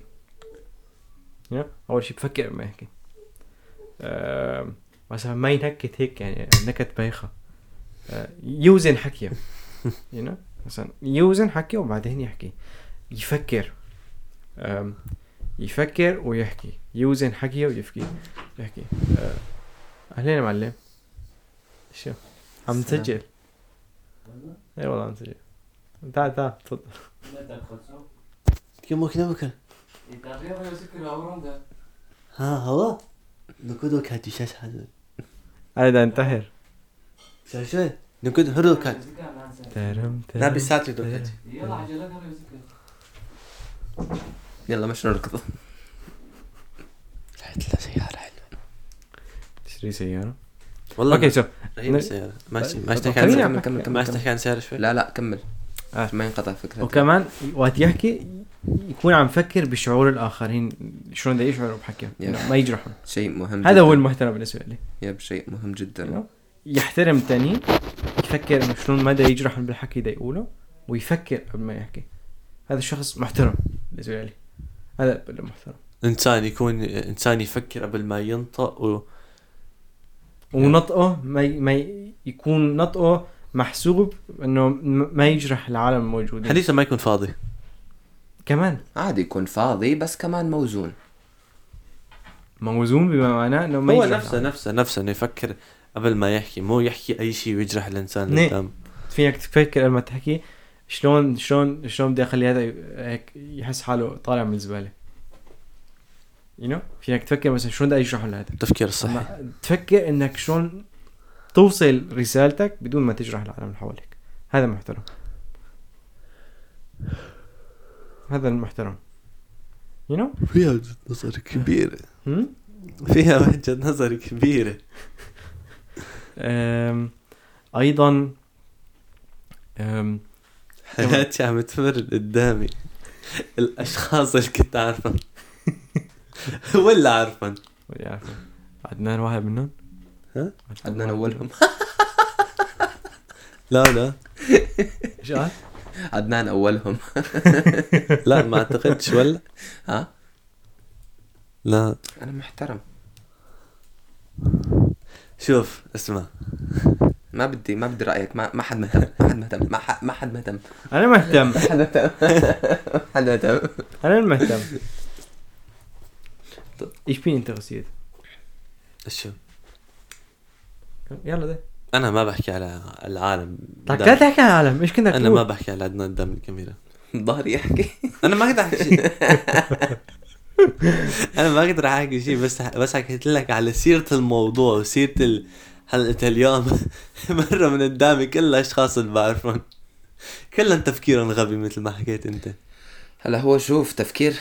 Speaker 1: you know? اول شيء بفكر ما يحكي آه مثلا ما ينكت هيك يعني نكت بايخه آه يوزن حكيه you know? مثلا يوزن حكيه وبعدين يحكي يفكر آم، يفكر ويحكي يوزن حكيه ويفكي يحكي آه، اهلين يا معلم شو عم نسجل اي والله عم نسجل تعال تعال تفضل
Speaker 2: كم وقت بكره ها هو نكودو كاتي شاش هذا
Speaker 1: انا بدي انتحر
Speaker 2: شاش نكود هرو كات
Speaker 1: ترم ترم
Speaker 2: نبي ساتي دو كاتي
Speaker 3: يلا مش نركض
Speaker 2: رحت له سيارة حلوة
Speaker 1: تشتري سيارة
Speaker 2: والله
Speaker 1: اوكي شوف
Speaker 2: رهيبة السيارة ما يس- ما يستحكي عن
Speaker 1: طيب، خليني
Speaker 2: سعر
Speaker 1: أعمل-
Speaker 3: كمل
Speaker 2: ما
Speaker 3: كمل كمل
Speaker 2: يستحكي عن سعر شوي
Speaker 3: لا لا كمل
Speaker 1: آه.
Speaker 3: ما ينقطع فكرتك
Speaker 1: وكمان وقت يحكي يكون عم فكر بشعور الاخرين شلون بده يشعروا بحكيه إنه ما يجرحهم
Speaker 3: شيء مهم
Speaker 1: هذا
Speaker 3: جداً.
Speaker 1: هو أيوه. المحترم بالنسبه لي
Speaker 3: يب شيء مهم جدا
Speaker 1: إنه يحترم تاني يفكر انه شلون مدى يجرحهم بالحكي ده يقوله ويفكر قبل ما يحكي هذا الشخص محترم بالنسبه لي هذا المحترم
Speaker 2: انسان يكون انسان يفكر قبل ما ينطق و...
Speaker 1: ونطقه ما ي- ما ي- يكون نطقه محسوب انه م- ما يجرح العالم الموجودين
Speaker 2: حديثه ما يكون فاضي
Speaker 1: كمان
Speaker 3: عادي يكون فاضي بس كمان موزون
Speaker 1: موزون بما معناه انه ما
Speaker 2: هو
Speaker 1: يجرح
Speaker 2: نفسه نفسه نفسه انه يفكر قبل ما يحكي مو يحكي اي شيء ويجرح الانسان اللي
Speaker 1: نعم.
Speaker 2: قدام
Speaker 1: فيك تفكر لما تحكي شلون شلون شلون بدي اخلي هذا ي- هيك يحس حاله طالع من الزباله يو نو فيك تفكر مثلا شلون بدي اشرحه لهذا
Speaker 2: التفكير الصحي
Speaker 1: ما- تفكر انك شلون توصل رسالتك بدون ما تجرح العالم اللي حواليك هذا محترم هذا المحترم يو نو
Speaker 2: فيها وجهة نظر كبيرة
Speaker 1: هم
Speaker 2: فيها وجهة نظر كبيرة
Speaker 1: أم، ايضا أم،
Speaker 2: حياتي عم تمر قدامي الاشخاص اللي كنت [LAUGHS] عارفهم ولا عارفهم
Speaker 1: بدي اعرف عدنان واحد منهم
Speaker 2: ها؟
Speaker 1: [LAUGHS]
Speaker 3: عدنان اولهم
Speaker 2: لا لا
Speaker 1: ايش قال؟
Speaker 3: [LAUGHS] عدنان
Speaker 1: [LAUGHS]
Speaker 3: اولهم
Speaker 2: لا ما اعتقدش ولا
Speaker 3: ها
Speaker 2: لا
Speaker 3: انا محترم
Speaker 2: شوف اسمع
Speaker 3: ما بدي ما بدي رايك ما ما حد مهتم ما حد مهتم ما حد ما حد مهتم
Speaker 1: انا مهتم
Speaker 3: ما حد مهتم [LAUGHS] ما حد مهتم
Speaker 1: انا المهتم ايش بين انت غسيل؟
Speaker 2: شو
Speaker 1: يلا ده
Speaker 2: انا ما بحكي على العالم
Speaker 1: طيب
Speaker 2: قدام.
Speaker 1: لا تحكي على العالم ايش كنت
Speaker 2: انا ما بحكي على عدنان قدام الكاميرا
Speaker 3: ظهري يحكي
Speaker 2: انا ما اقدر احكي شيء [LAUGHS] انا ما اقدر احكي شيء بس بس حكيت لك على سيره الموضوع وسيره ال... حلقه اليوم [LAUGHS] مره من قدامي كل الاشخاص اللي بعرفهم كلهم تفكيرهم غبي مثل ما حكيت انت
Speaker 3: هلا هو شوف تفكير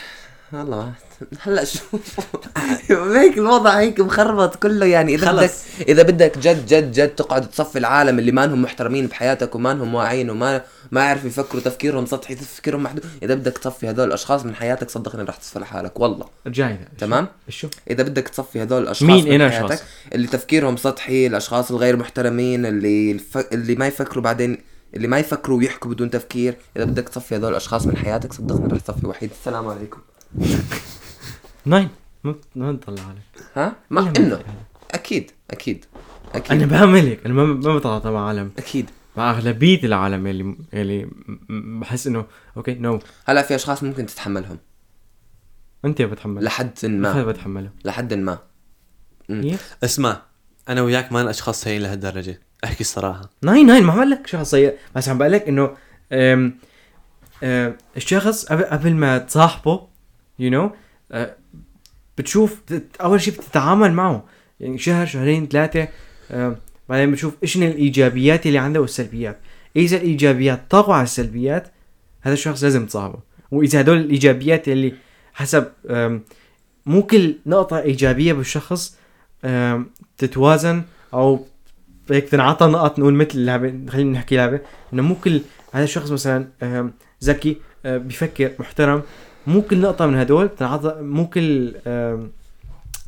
Speaker 3: والله ما- هلا شوف [LAUGHS] هيك الوضع هيك مخربط كله يعني اذا بدك
Speaker 2: خلص.
Speaker 3: اذا بدك جد جد جد تقعد تصفي العالم اللي ما انهم محترمين بحياتك وما انهم واعيين وما ما يعرفوا يفكروا تفكيرهم سطحي تفكيرهم محدود اذا بدك تصفي هذول الاشخاص من حياتك صدقني رح تصفي لحالك والله
Speaker 1: رجعنا
Speaker 3: تمام
Speaker 1: شو؟
Speaker 3: اذا بدك تصفي هذول الاشخاص
Speaker 1: مين
Speaker 3: من
Speaker 1: إنا
Speaker 3: حياتك،
Speaker 1: أشخاص؟
Speaker 3: اللي تفكيرهم سطحي الاشخاص الغير محترمين اللي الف... اللي ما يفكروا بعدين اللي ما يفكروا ويحكوا بدون تفكير اذا بدك تصفي هذول الاشخاص من حياتك صدقني رح تصفي وحيد السلام عليكم
Speaker 1: ناين ما بت- ما بنطلع عليك
Speaker 3: ها مع انه اكيد اكيد اكيد
Speaker 1: انا بعمل هيك انا ما ما بطلع مع عالم
Speaker 3: اكيد
Speaker 1: مع اغلبيه العالم اللي اللي م- م- بحس انه اوكي نو
Speaker 3: هلا في اشخاص ممكن تتحملهم
Speaker 1: انت بتحمل
Speaker 3: لحد
Speaker 1: ما
Speaker 3: ما
Speaker 1: بتحمله
Speaker 3: لحد ما
Speaker 1: يس.
Speaker 2: اسمع انا وياك ما اشخاص هي لهالدرجه احكي الصراحه
Speaker 1: ناين ناين ما عمل لك شخص سيء بس عم بقول لك انه أم، أم، الشخص قبل- قبل ما تصاحبه يو نو بتشوف بت- اول شيء بتتعامل معه يعني شهر شهرين ثلاثه أم، بعدين بتشوف ايش الايجابيات اللي عنده والسلبيات اذا الايجابيات طغوا على السلبيات هذا الشخص لازم تصاحبه واذا هدول الايجابيات اللي حسب أم، مو كل نقطه ايجابيه بالشخص أم، تتوازن او هيك تنعطى نقط نقول مثل اللعبه خلينا نحكي لعبه انه مو كل هذا الشخص مثلا آم، ذكي آه، بيفكر محترم مو كل نقطه من هدول بتنعطى مو كل آم،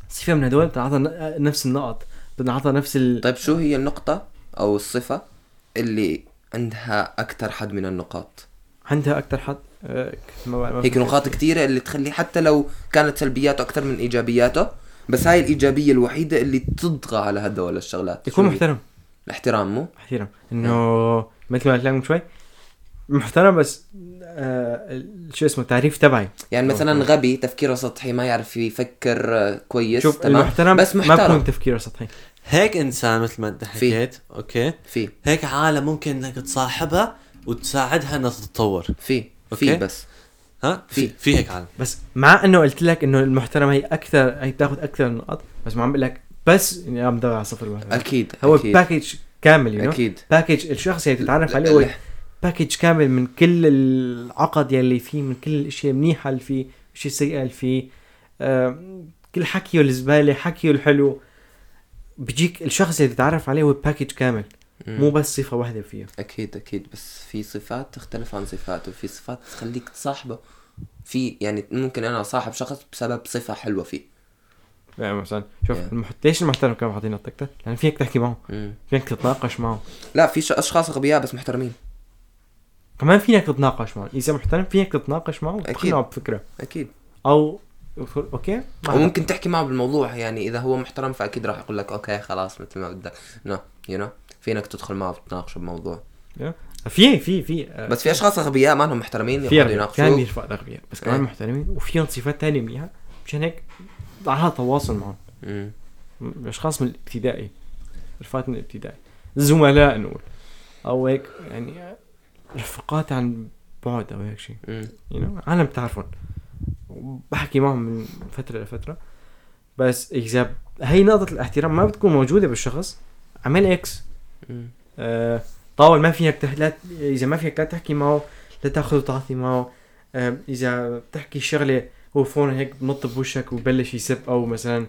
Speaker 1: صفه من هدول بتنعطى ن- نفس النقط بتنعطى نفس ال...
Speaker 3: طيب شو هي النقطه او الصفه اللي عندها اكثر حد من النقاط
Speaker 1: عندها اكثر حد آه، ما بعرف- ما
Speaker 3: هيك
Speaker 1: بفكر.
Speaker 3: نقاط كتيرة اللي تخليه حتى لو كانت سلبياته أكتر من إيجابياته بس هاي الإيجابية الوحيدة اللي تطغى على هدول الشغلات
Speaker 1: يكون
Speaker 3: شو هي؟
Speaker 1: محترم
Speaker 3: الاحترام مو
Speaker 1: محترم
Speaker 3: نعم.
Speaker 1: انه مثل ما قلت لك من شوي محترم بس آه ال- شو اسمه التعريف تبعي
Speaker 3: يعني
Speaker 1: أوكي.
Speaker 3: مثلا غبي تفكيره سطحي ما يعرف يفكر آه، كويس
Speaker 1: شوف
Speaker 3: تمام
Speaker 1: المحترم
Speaker 3: بس
Speaker 1: ما
Speaker 3: محترم
Speaker 1: بكون تفكيره سطحي
Speaker 2: هيك انسان مثل ما انت حكيت اوكي
Speaker 3: في
Speaker 2: هيك عالم ممكن انك تصاحبها وتساعدها انها تتطور
Speaker 3: في في
Speaker 2: أوكي.
Speaker 3: بس
Speaker 2: ها في
Speaker 3: في.
Speaker 2: في هيك عالم
Speaker 1: بس مع انه قلت لك انه المحترمه هي اكثر هي بتاخذ اكثر نقط بس ما عم بقول لك بس اني عم بدور على صفر المحترمة.
Speaker 3: اكيد
Speaker 1: هو
Speaker 3: اكيد
Speaker 1: باكج كامل يو
Speaker 3: اكيد
Speaker 1: باكج الشخص اللي بتتعرف عليه هو باكج كامل من كل العقد يلي فيه من كل الاشياء المنيحه اللي فيه الاشياء السيئه اللي فيه آه، كل حكيه الزباله حكيه الحلو بيجيك الشخص اللي بتتعرف عليه هو باكج كامل مو
Speaker 3: مو
Speaker 1: بس صفه واحده فيه
Speaker 3: اكيد اكيد بس في صفات تختلف عن صفات وفي صفات تخليك تصاحبه في يعني ممكن انا اصاحب شخص بسبب صفه حلوه فيه
Speaker 1: يعني مثلا شوف
Speaker 3: Yeah.
Speaker 1: المحت... ليش المحترم كانوا حاطين التكتة؟ لان فيك تحكي معه
Speaker 3: مم.
Speaker 1: فيك تتناقش معه
Speaker 3: لا في ش- اشخاص اغبياء بس محترمين
Speaker 1: كمان فيك تتناقش معه اذا محترم فيك تتناقش معه
Speaker 3: أكيد.
Speaker 1: وتقنعه بفكره
Speaker 3: اكيد
Speaker 1: او اوكي ما حدا-
Speaker 3: وممكن تحكي معه بالموضوع يعني اذا هو محترم فاكيد راح يقول لك اوكي خلاص مثل ما بدك نو يو نو فينك تدخل معه وتناقشه بموضوع
Speaker 1: في في في آه،
Speaker 3: بس في اشخاص اغبياء ما هم محترمين
Speaker 1: في
Speaker 3: يقعدوا
Speaker 1: أغبياء، كان
Speaker 3: يناقشوك
Speaker 1: يرفع الاغبياء بس كمان
Speaker 3: إيه.
Speaker 1: محترمين وفيهم صفات تانية منيحه مشان هيك على تواصل معهم
Speaker 3: مم.
Speaker 1: م- اشخاص من الابتدائي رفقات من الابتدائي زملاء نقول او هيك يعني آه، رفقات عن بعد او هيك شيء
Speaker 3: مم.
Speaker 1: you know, عالم بتعرفهم بحكي معهم من فترة لفترة بس إذا هي نقطة الاحترام ما بتكون موجودة بالشخص عمل إكس
Speaker 3: مم.
Speaker 1: آه طاول ما فيك تح... لا... إذا ما فيك لا تحكي معه لا تاخذ وتعطي معه آه إذا بتحكي شغلة هو فون هيك بنط بوشك وبلش يسب أو مثلا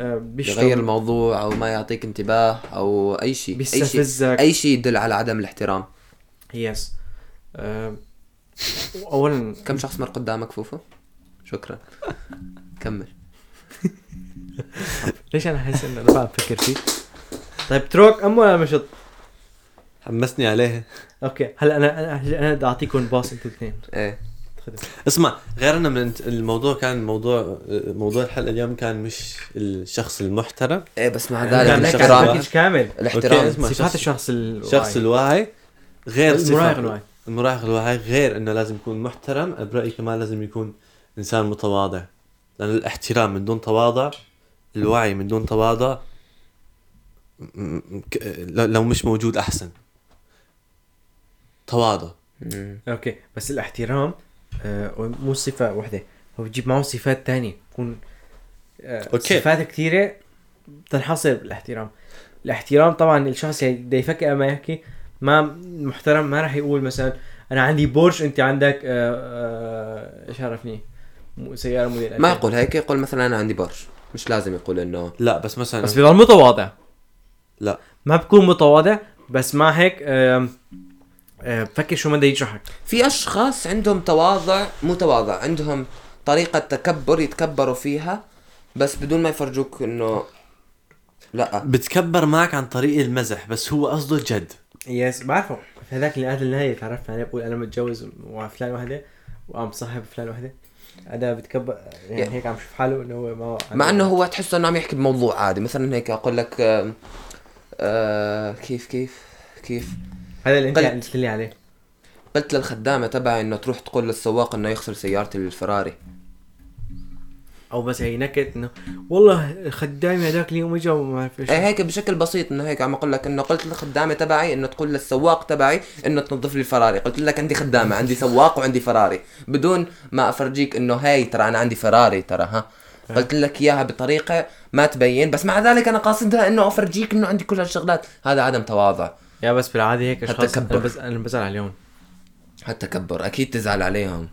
Speaker 1: آه
Speaker 3: يغير
Speaker 1: بيشتغل
Speaker 3: الموضوع او ما يعطيك انتباه او اي شيء اي شيء
Speaker 1: بيستفزك
Speaker 3: اي شيء يدل على عدم الاحترام
Speaker 1: يس آه أولا
Speaker 3: كم شخص مر قدامك فوفو
Speaker 1: [LAUGHS]
Speaker 3: شكرا كمل
Speaker 1: ليش أنا حاسس إنه أنا بقى بفكر فيه طيب تروك أم ولا مشط
Speaker 2: حمسني عليها
Speaker 1: اوكي هلا انا انا انا بدي اعطيكم باص انتوا الاثنين
Speaker 3: ايه
Speaker 2: اسمع غير انه من الموضوع كان موضوع موضوع الحلقه اليوم كان مش الشخص المحترم
Speaker 3: ايه بس مع
Speaker 1: كان
Speaker 2: كان
Speaker 3: ذلك
Speaker 1: هيك
Speaker 2: شخص
Speaker 1: نعم، على
Speaker 2: الاحترام.
Speaker 3: الاحترام
Speaker 1: باكج كامل
Speaker 2: أوكي،
Speaker 3: الاحترام
Speaker 2: اسمع،
Speaker 1: صفات
Speaker 2: شخص-
Speaker 1: الشخص الواعي
Speaker 2: الشخص
Speaker 1: المراهق
Speaker 2: الواعي غير صفه
Speaker 1: الواعي
Speaker 2: المراهق الواعي غير انه لازم يكون محترم برايي كمان لازم يكون انسان متواضع لان الاحترام من دون تواضع الوعي من دون تواضع م- م- ك- لو مش موجود احسن تواضع
Speaker 3: مم.
Speaker 1: اوكي بس الاحترام آه مو صفه واحده هو بجيب معه صفات ثانيه تكون آه
Speaker 2: أوكي.
Speaker 1: صفات كثيره تنحصر بالاحترام الاحترام طبعا الشخص اللي بده يفكر ما يحكي ما محترم ما راح يقول مثلا انا عندي بورش انت عندك آه، آه ايش عرفني مو- سياره موديل
Speaker 3: ما
Speaker 1: 2000.
Speaker 3: يقول هيك يقول مثلا انا عندي برش مش لازم يقول انه
Speaker 2: لا بس مثلا
Speaker 1: بس بضل متواضع
Speaker 2: لا.
Speaker 1: ما بكون متواضع بس مع هيك آم، آم، بفكر شو ما بده يجرحك
Speaker 3: في اشخاص عندهم تواضع مو تواضع عندهم طريقة تكبر يتكبروا فيها بس بدون ما يفرجوك انه لا
Speaker 2: بتكبر معك عن طريق المزح بس هو قصده جد
Speaker 1: يس بعرفه هذاك اللي قاتل النهاية تعرفت عليه بقول انا متجوز مع فلان وحده وعم صاحب فلان وحده هذا بتكبر يعني هيك عم شوف حاله انه هو ما هو
Speaker 3: مع انه هو تحسه انه عم يحكي بموضوع عادي مثلا هيك اقول لك آم، آه كيف كيف كيف
Speaker 1: هذا اللي انت
Speaker 3: قلت.
Speaker 1: قلت لي عليه
Speaker 3: قلت للخدامة تبعي انه تروح تقول للسواق انه يغسل سيارتي للفراري
Speaker 1: او بس هي نكت انه والله خدامي هذاك اليوم اجى وما عرف ايش
Speaker 3: ايه هيك بشكل بسيط انه هيك عم اقول لك انه قلت للخدامه تبعي انه تقول للسواق تبعي انه تنظف لي الفراري قلت لك عندي خدامه عندي سواق وعندي فراري بدون ما افرجيك انه هاي ترى انا عندي فراري ترى ها
Speaker 2: إيه.
Speaker 3: قلت لك اياها بطريقه ما تبين بس مع ذلك انا قاصدها انه افرجيك انه عندي كل هالشغلات هذا عدم تواضع
Speaker 1: يا بس بالعاده هيك اشخاص انا
Speaker 3: التكبر.
Speaker 1: بز... انا بزعل عليهم
Speaker 3: هالتكبر اكيد تزعل عليهم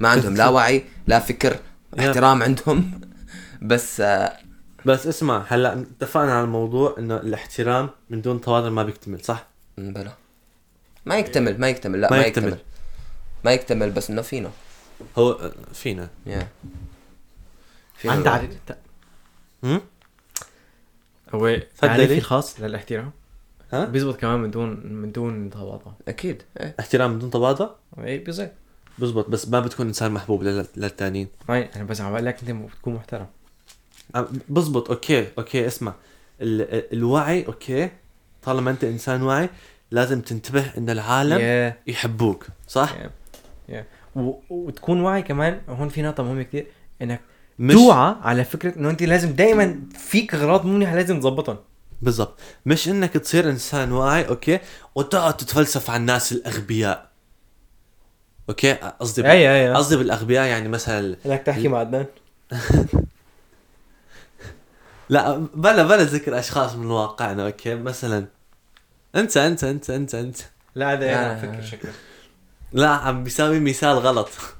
Speaker 3: ما عندهم
Speaker 2: [LAUGHS]
Speaker 3: لا وعي لا فكر احترام عندهم بس آه،
Speaker 2: بس اسمع هلا اتفقنا على الموضوع انه الاحترام من دون تواضع ما بيكتمل صح
Speaker 3: بلا ما يكتمل ما يكتمل لا
Speaker 2: ما
Speaker 3: ما
Speaker 2: يكتمل.
Speaker 3: يكتمل ما يكتمل بس انه فينا
Speaker 2: هو فينا
Speaker 3: يا فينا
Speaker 1: عندك
Speaker 3: الواحد.
Speaker 1: عد... ت-
Speaker 2: هم؟
Speaker 1: هو تعريفي الخاص للاحترام
Speaker 2: ها؟
Speaker 1: بيزبط كمان من دون من دون تواضع
Speaker 3: اكيد ايه
Speaker 2: احترام من دون تواضع
Speaker 1: اي بالظبط
Speaker 2: بزبط بس ما بتكون انسان محبوب لل- للتانيين
Speaker 1: هاي انا بس عم بقول لك انت بتكون محترم
Speaker 2: عم- بزبط اوكي اوكي اسمع ال... الوعي اوكي طالما انت انسان واعي لازم تنتبه ان العالم yeah.
Speaker 1: يا
Speaker 2: يحبوك صح
Speaker 1: Yeah. و... وتكون واعي كمان هون في نقطه مهمه كثير انك
Speaker 2: مش
Speaker 1: توعى على فكره انه انت لازم دائما فيك اغراض مو منيحه لازم تظبطهم
Speaker 2: بالضبط مش انك تصير انسان واعي اوكي وتقعد تتفلسف على الناس الاغبياء اوكي قصدي بال-
Speaker 1: اي اي
Speaker 2: قصدي بالاغبياء يعني مثلا
Speaker 1: انك تحكي مع عدنان
Speaker 2: لا بلا بلا ذكر اشخاص من واقعنا اوكي مثلا انت انت انت انت انت
Speaker 1: لا
Speaker 2: إيه،
Speaker 1: هذا انا
Speaker 3: آه.
Speaker 1: افكر شكله
Speaker 2: لا عم بيساوي مثال غلط
Speaker 1: [LAUGHS]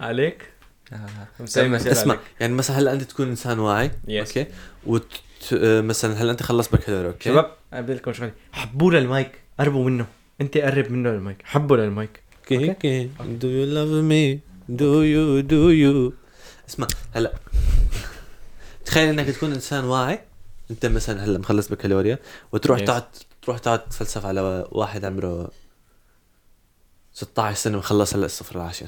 Speaker 1: عليك
Speaker 3: آه.
Speaker 1: مسوي
Speaker 3: اسمع-
Speaker 1: مثال
Speaker 2: اسمع
Speaker 1: عليك.
Speaker 2: يعني مثلا هلا انت تكون انسان واعي
Speaker 1: Yes.
Speaker 2: اوكي وت... آه، مثلا هلا انت خلص بكالوريا اوكي
Speaker 1: شباب ابدا لكم شغله حبوا للمايك قربوا منه انت قرب منه للمايك حبوا للمايك
Speaker 2: اوكي اوكي do you love me do you do you اسمع هلا تخيل انك تكون انسان واعي انت مثلا هلا مخلص بكالوريا وتروح
Speaker 1: Yes.
Speaker 2: تقعد تروح تقعد تتفلسف على واحد عمره 16 سنه مخلص هلا الصفر العاشر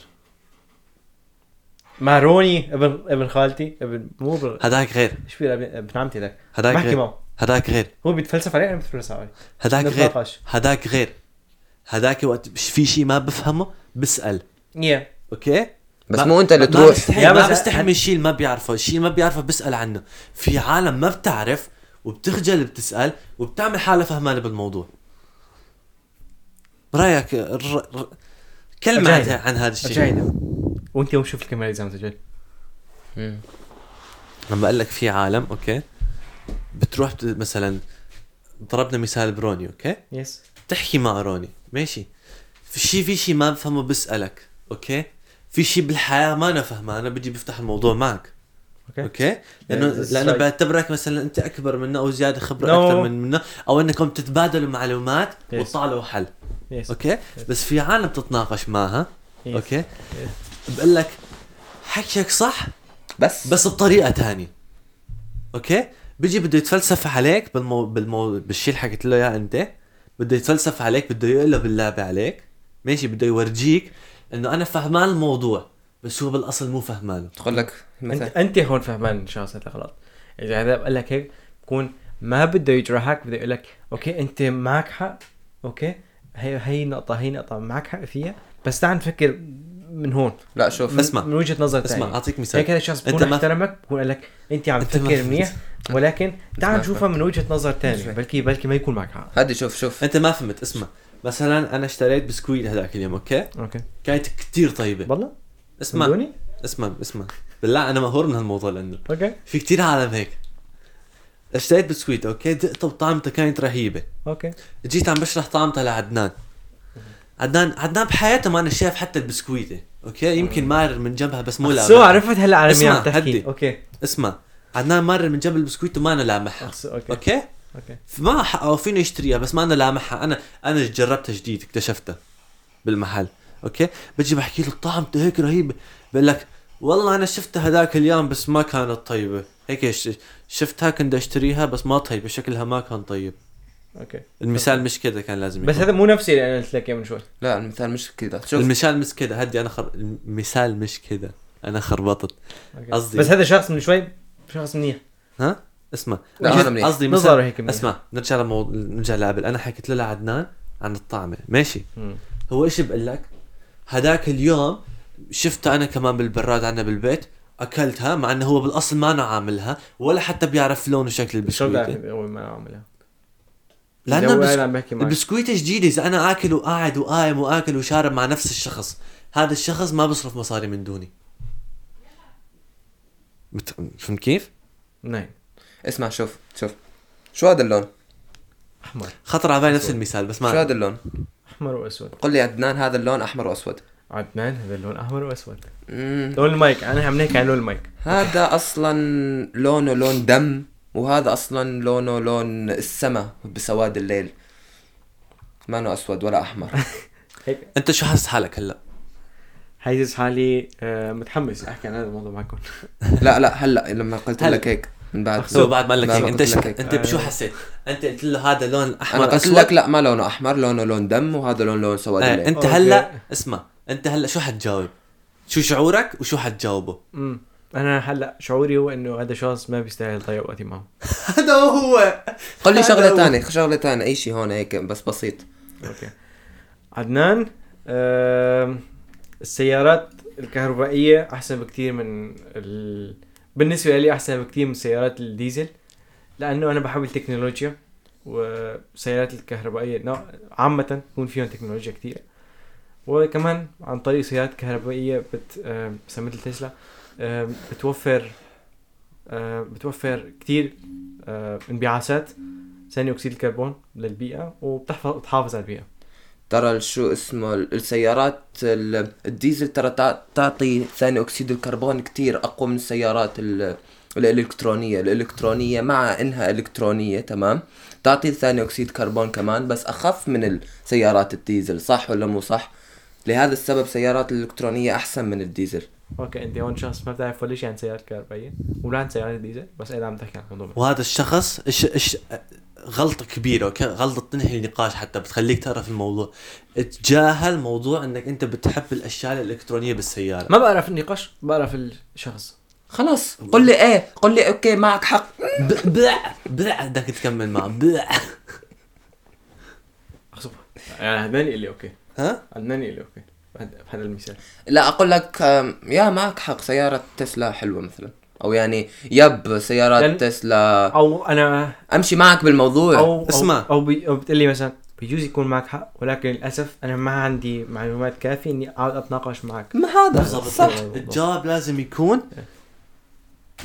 Speaker 1: مع روني ابن ابن خالتي ابن مو ابن
Speaker 2: هذاك غير
Speaker 1: ايش في ابن ابن عمتي ذاك إيه.
Speaker 2: هذاك
Speaker 1: بحكي
Speaker 2: غير
Speaker 1: معه
Speaker 2: هذاك غير
Speaker 1: هو بيتفلسف علي انا بتفلسف علي
Speaker 2: هذاك غير
Speaker 1: نتناقش
Speaker 2: هذاك غير هذاك وقت بش- في شيء ما بفهمه بسال
Speaker 1: يا
Speaker 2: اوكي
Speaker 3: بس
Speaker 2: ما-
Speaker 3: مو انت اللي
Speaker 2: ما
Speaker 3: تروح
Speaker 2: بستحي
Speaker 1: يا
Speaker 2: ما
Speaker 1: بس-
Speaker 2: بستحي من الشيء اللي ما بيعرفه، الشيء اللي ما بيعرفه بسأل عنه، في عالم ما بتعرف وبتخجل بتسأل وبتعمل حالها فهمانة بالموضوع. رأيك ر... ر... كلمة عن,
Speaker 1: أرجعي.
Speaker 2: عن هذا
Speaker 1: ارجعي
Speaker 2: الشيء
Speaker 1: له وانت يوم شوف الكاميرا اذا مسجل
Speaker 3: مم.
Speaker 2: لما بقول لك في عالم اوكي بتروح بت... مثلا ضربنا مثال بروني اوكي
Speaker 1: يس
Speaker 2: بتحكي مع روني ماشي في شيء في شيء ما بفهمه بسألك اوكي في شيء بالحياة ما انا فهمانه بدي بفتح الموضوع معك
Speaker 1: اوكي
Speaker 2: اوكي لانه
Speaker 1: Yeah, it's
Speaker 2: لانه
Speaker 1: right.
Speaker 2: بعتبرك مثلا انت اكبر منه او زياده خبره
Speaker 1: No.
Speaker 2: اكثر من منه او انكم تتبادلوا معلومات
Speaker 1: Yes.
Speaker 2: وتطالعوا حل
Speaker 1: يس
Speaker 2: اوكي بس في عالم تتناقش معها اوكي بقول لك حكيك صح
Speaker 3: بس
Speaker 2: بس بطريقه ثانيه اوكي بيجي بده يتفلسف عليك بالمو... بالمو... بالشيء اللي حكيت له اياه انت بده يتفلسف عليك بده يقلب اللعبه عليك ماشي بده يورجيك انه انا فهمان الموضوع بس هو بالاصل مو فهمانه
Speaker 3: تقول لك
Speaker 1: انت
Speaker 3: مثلا
Speaker 1: انت هون فهمان شخصيتك غلط اذا هذا قال لك هيك بكون ما بده يجرحك بده يقول لك اوكي انت معك حق اوكي هي هي نقطه هي نقطه معك حق فيها بس تعال نفكر من هون
Speaker 3: لا شوف
Speaker 1: من-
Speaker 2: اسمع.
Speaker 1: من وجهه نظر
Speaker 2: اسمع
Speaker 1: ثانيه
Speaker 2: اعطيك مثال
Speaker 1: طيب. هيك هذا الشخص
Speaker 2: أنت
Speaker 1: بكون
Speaker 2: ما-
Speaker 1: احترمك بكون قال لك انت عم
Speaker 2: أنت ما
Speaker 1: تفكر
Speaker 2: فهمت.
Speaker 1: منيح ولكن تعال
Speaker 3: ما
Speaker 1: نشوفها من وجهه نظر ثانيه
Speaker 3: فهمت.
Speaker 1: بلكي بلكي ما يكون معك حق
Speaker 3: هدي شوف شوف
Speaker 2: انت ما فهمت اسمع مثلا انا اشتريت بسكويت هذاك اليوم اوكي
Speaker 1: اوكي
Speaker 2: كانت كتير طيبه
Speaker 1: بالله
Speaker 2: اسمع
Speaker 1: بدوني
Speaker 2: اسمع اسمع بالله انا مقهور من هالموضوع لانه
Speaker 1: اوكي
Speaker 2: في كتير عالم هيك اشتريت بسكويت اوكي دقته وطعمته كانت رهيبه
Speaker 1: اوكي
Speaker 2: جيت عم بشرح طعمتها لعدنان عدنان عدنان بحياته ما انا شايف حتى البسكويته اوكي يمكن مار من جنبها بس مو
Speaker 1: سو
Speaker 2: لامحها
Speaker 1: عرفت هلا على مين عم
Speaker 2: اسمع،
Speaker 1: تحكي
Speaker 2: هدي.
Speaker 1: اوكي
Speaker 2: اسمع عدنان مار من جنب البسكويت وما انا لامحها
Speaker 1: أخس- اوكي
Speaker 2: اوكي
Speaker 1: اوكي
Speaker 2: ما حقه فيني يشتريها بس ما انا لامحها انا انا جربتها جديد اكتشفتها بالمحل اوكي بجي بحكي له طعمته هيك رهيبه بقول لك والله انا شفتها هذاك اليوم بس ما كانت طيبه هيك ش- شفتها كنت اشتريها بس ما طيبه شكلها ما كان طيب
Speaker 1: اوكي
Speaker 2: المثال مش كده كان لازم
Speaker 1: بس
Speaker 2: يكون.
Speaker 1: هذا مو نفسي اللي انا قلت لك اياه من شوي
Speaker 3: لا المثال مش كذا شوف
Speaker 2: المثال مش كده هدي انا خر... المثال مش كده انا خربطت
Speaker 1: أوكي.
Speaker 2: قصدي-
Speaker 1: بس هذا شخص من شوي شخص منيح
Speaker 2: ها اسمع
Speaker 3: لا، أنا منيح.
Speaker 2: قصدي مثلا
Speaker 1: نظره هيك منيح
Speaker 2: اسمع نرجع لموضوع نرجع لقبل انا حكيت له لعدنان عن الطعمه ماشي
Speaker 1: مم.
Speaker 2: هو ايش بقول لك؟ هداك اليوم شفتها انا كمان بالبراد عندنا بالبيت اكلتها مع انه هو بالاصل ما انا عاملها ولا حتى بيعرف لون
Speaker 1: شو
Speaker 2: وشكل
Speaker 1: بدي
Speaker 2: البسكويت
Speaker 1: أعرف اول ما اعملها
Speaker 2: لانه
Speaker 1: لو
Speaker 2: بس...
Speaker 1: انا عم بحكي معك
Speaker 2: البسكويت جديد اذا انا اكل وقاعد وقايم واكل وشارب مع نفس الشخص هذا الشخص ما بصرف مصاري من دوني بت... فهمت كيف؟
Speaker 1: نعم
Speaker 3: اسمع شوف شوف شو هذا اللون؟
Speaker 1: احمر
Speaker 2: خطر على بالي نفس المثال بس
Speaker 3: شو
Speaker 2: ما
Speaker 3: هذا اللون؟
Speaker 1: احمر واسود
Speaker 3: قل لي عدنان هذا اللون احمر واسود
Speaker 1: عدنان هذا اللون احمر واسود
Speaker 3: مم.
Speaker 1: لون المايك انا عم نحكي عن لون المايك
Speaker 3: هذا اصلا لونه لون دم وهذا اصلا لونه لون السماء بسواد الليل ما انه اسود ولا
Speaker 2: [LAUGHS]
Speaker 3: احمر
Speaker 1: هيك
Speaker 2: انت شو حاسس حالك هلا؟
Speaker 1: حاسس حالي آه، متحمس احكي عن هذا الموضوع معكم
Speaker 3: لا لا هلا لما قلت
Speaker 2: هلا.
Speaker 3: لك هيك من بعد
Speaker 2: سو بعد ما قال لك
Speaker 3: بعد
Speaker 2: هيك، انت
Speaker 3: قلت
Speaker 2: شو
Speaker 3: لك هيك.
Speaker 2: انت بشو حسيت؟ انت قلت له هذا لون
Speaker 3: انا
Speaker 2: احمر
Speaker 3: قلت
Speaker 2: اسود
Speaker 3: لك لا ما لونه احمر لونه لون دم وهذا لون لون سواد
Speaker 2: آه،
Speaker 3: الليل
Speaker 2: انت
Speaker 1: أوكي.
Speaker 2: هلا اسمع انت هلا شو حتجاوب؟ شو شعورك وشو حتجاوبه؟
Speaker 1: أمم. انا هلا شعوري هو انه هذا شخص ما بيستاهل ضيع وقتي معه
Speaker 2: هذا هو
Speaker 3: قل لي
Speaker 2: هذا
Speaker 3: شغله
Speaker 2: هو.
Speaker 3: ثانيه شغله ثانيه اي شيء هون هيك بس بسيط
Speaker 1: اوكي عدنان آم، السيارات الكهربائية أحسن بكتير من ال... بالنسبة لي أحسن بكتير من سيارات الديزل لانه انا بحب التكنولوجيا وسيارات الكهربائيه نوع- عامه يكون فيهم تكنولوجيا كتير وكمان عن طريق سيارات كهربائيه بت آه، بس مثل تسلا آه، بتوفر آه، بتوفر كتير آه، انبعاثات ثاني اكسيد الكربون للبيئه وبتحفظ بتحافظ على البيئه
Speaker 3: ترى شو اسمه السيارات ال- الديزل ترى تع- تعطي ثاني اكسيد الكربون كتير اقوى من السيارات ال- الالكترونيه الالكترونيه مع انها الكترونيه تمام تعطي ثاني اكسيد كربون كمان بس اخف من السيارات الديزل صح ولا مو صح لهذا السبب سيارات الالكترونيه احسن من الديزل
Speaker 1: اوكي انت هون شخص ما بتعرف ولا شيء عن سيارات كهربائيه ولا عن سيارات ديزل بس انا عم بحكي عن الموضوع
Speaker 2: وهذا الشخص إش إش غلطة كبيرة أوكي غلطة تنهي النقاش حتى بتخليك تعرف الموضوع تجاهل موضوع انك انت بتحب الاشياء الالكترونية بالسيارة
Speaker 1: ما بعرف النقاش بعرف الشخص
Speaker 3: خلاص قل لي ايه قل لي اوكي معك حق
Speaker 2: ب- بلع بلع بدك تكمل معه بلع
Speaker 1: اخصب يعني عدنان اللي اوكي
Speaker 2: ها؟
Speaker 1: عدنان اللي اوكي بهذا بهذا المثال
Speaker 3: لا اقول لك آم، يا معك حق سياره تسلا حلوه مثلا او يعني يب سيارات
Speaker 1: لأن-
Speaker 3: تسلا
Speaker 1: او انا
Speaker 3: امشي معك بالموضوع
Speaker 1: او
Speaker 2: اسمع.
Speaker 1: او, أو, بي أو بتقول لي مثلا بيجوز يكون معك حق ولكن للاسف انا ما عندي معلومات كافيه اني اقعد اتناقش معك
Speaker 3: ما هذا
Speaker 2: بالضبط
Speaker 3: صح
Speaker 2: الجواب لازم يكون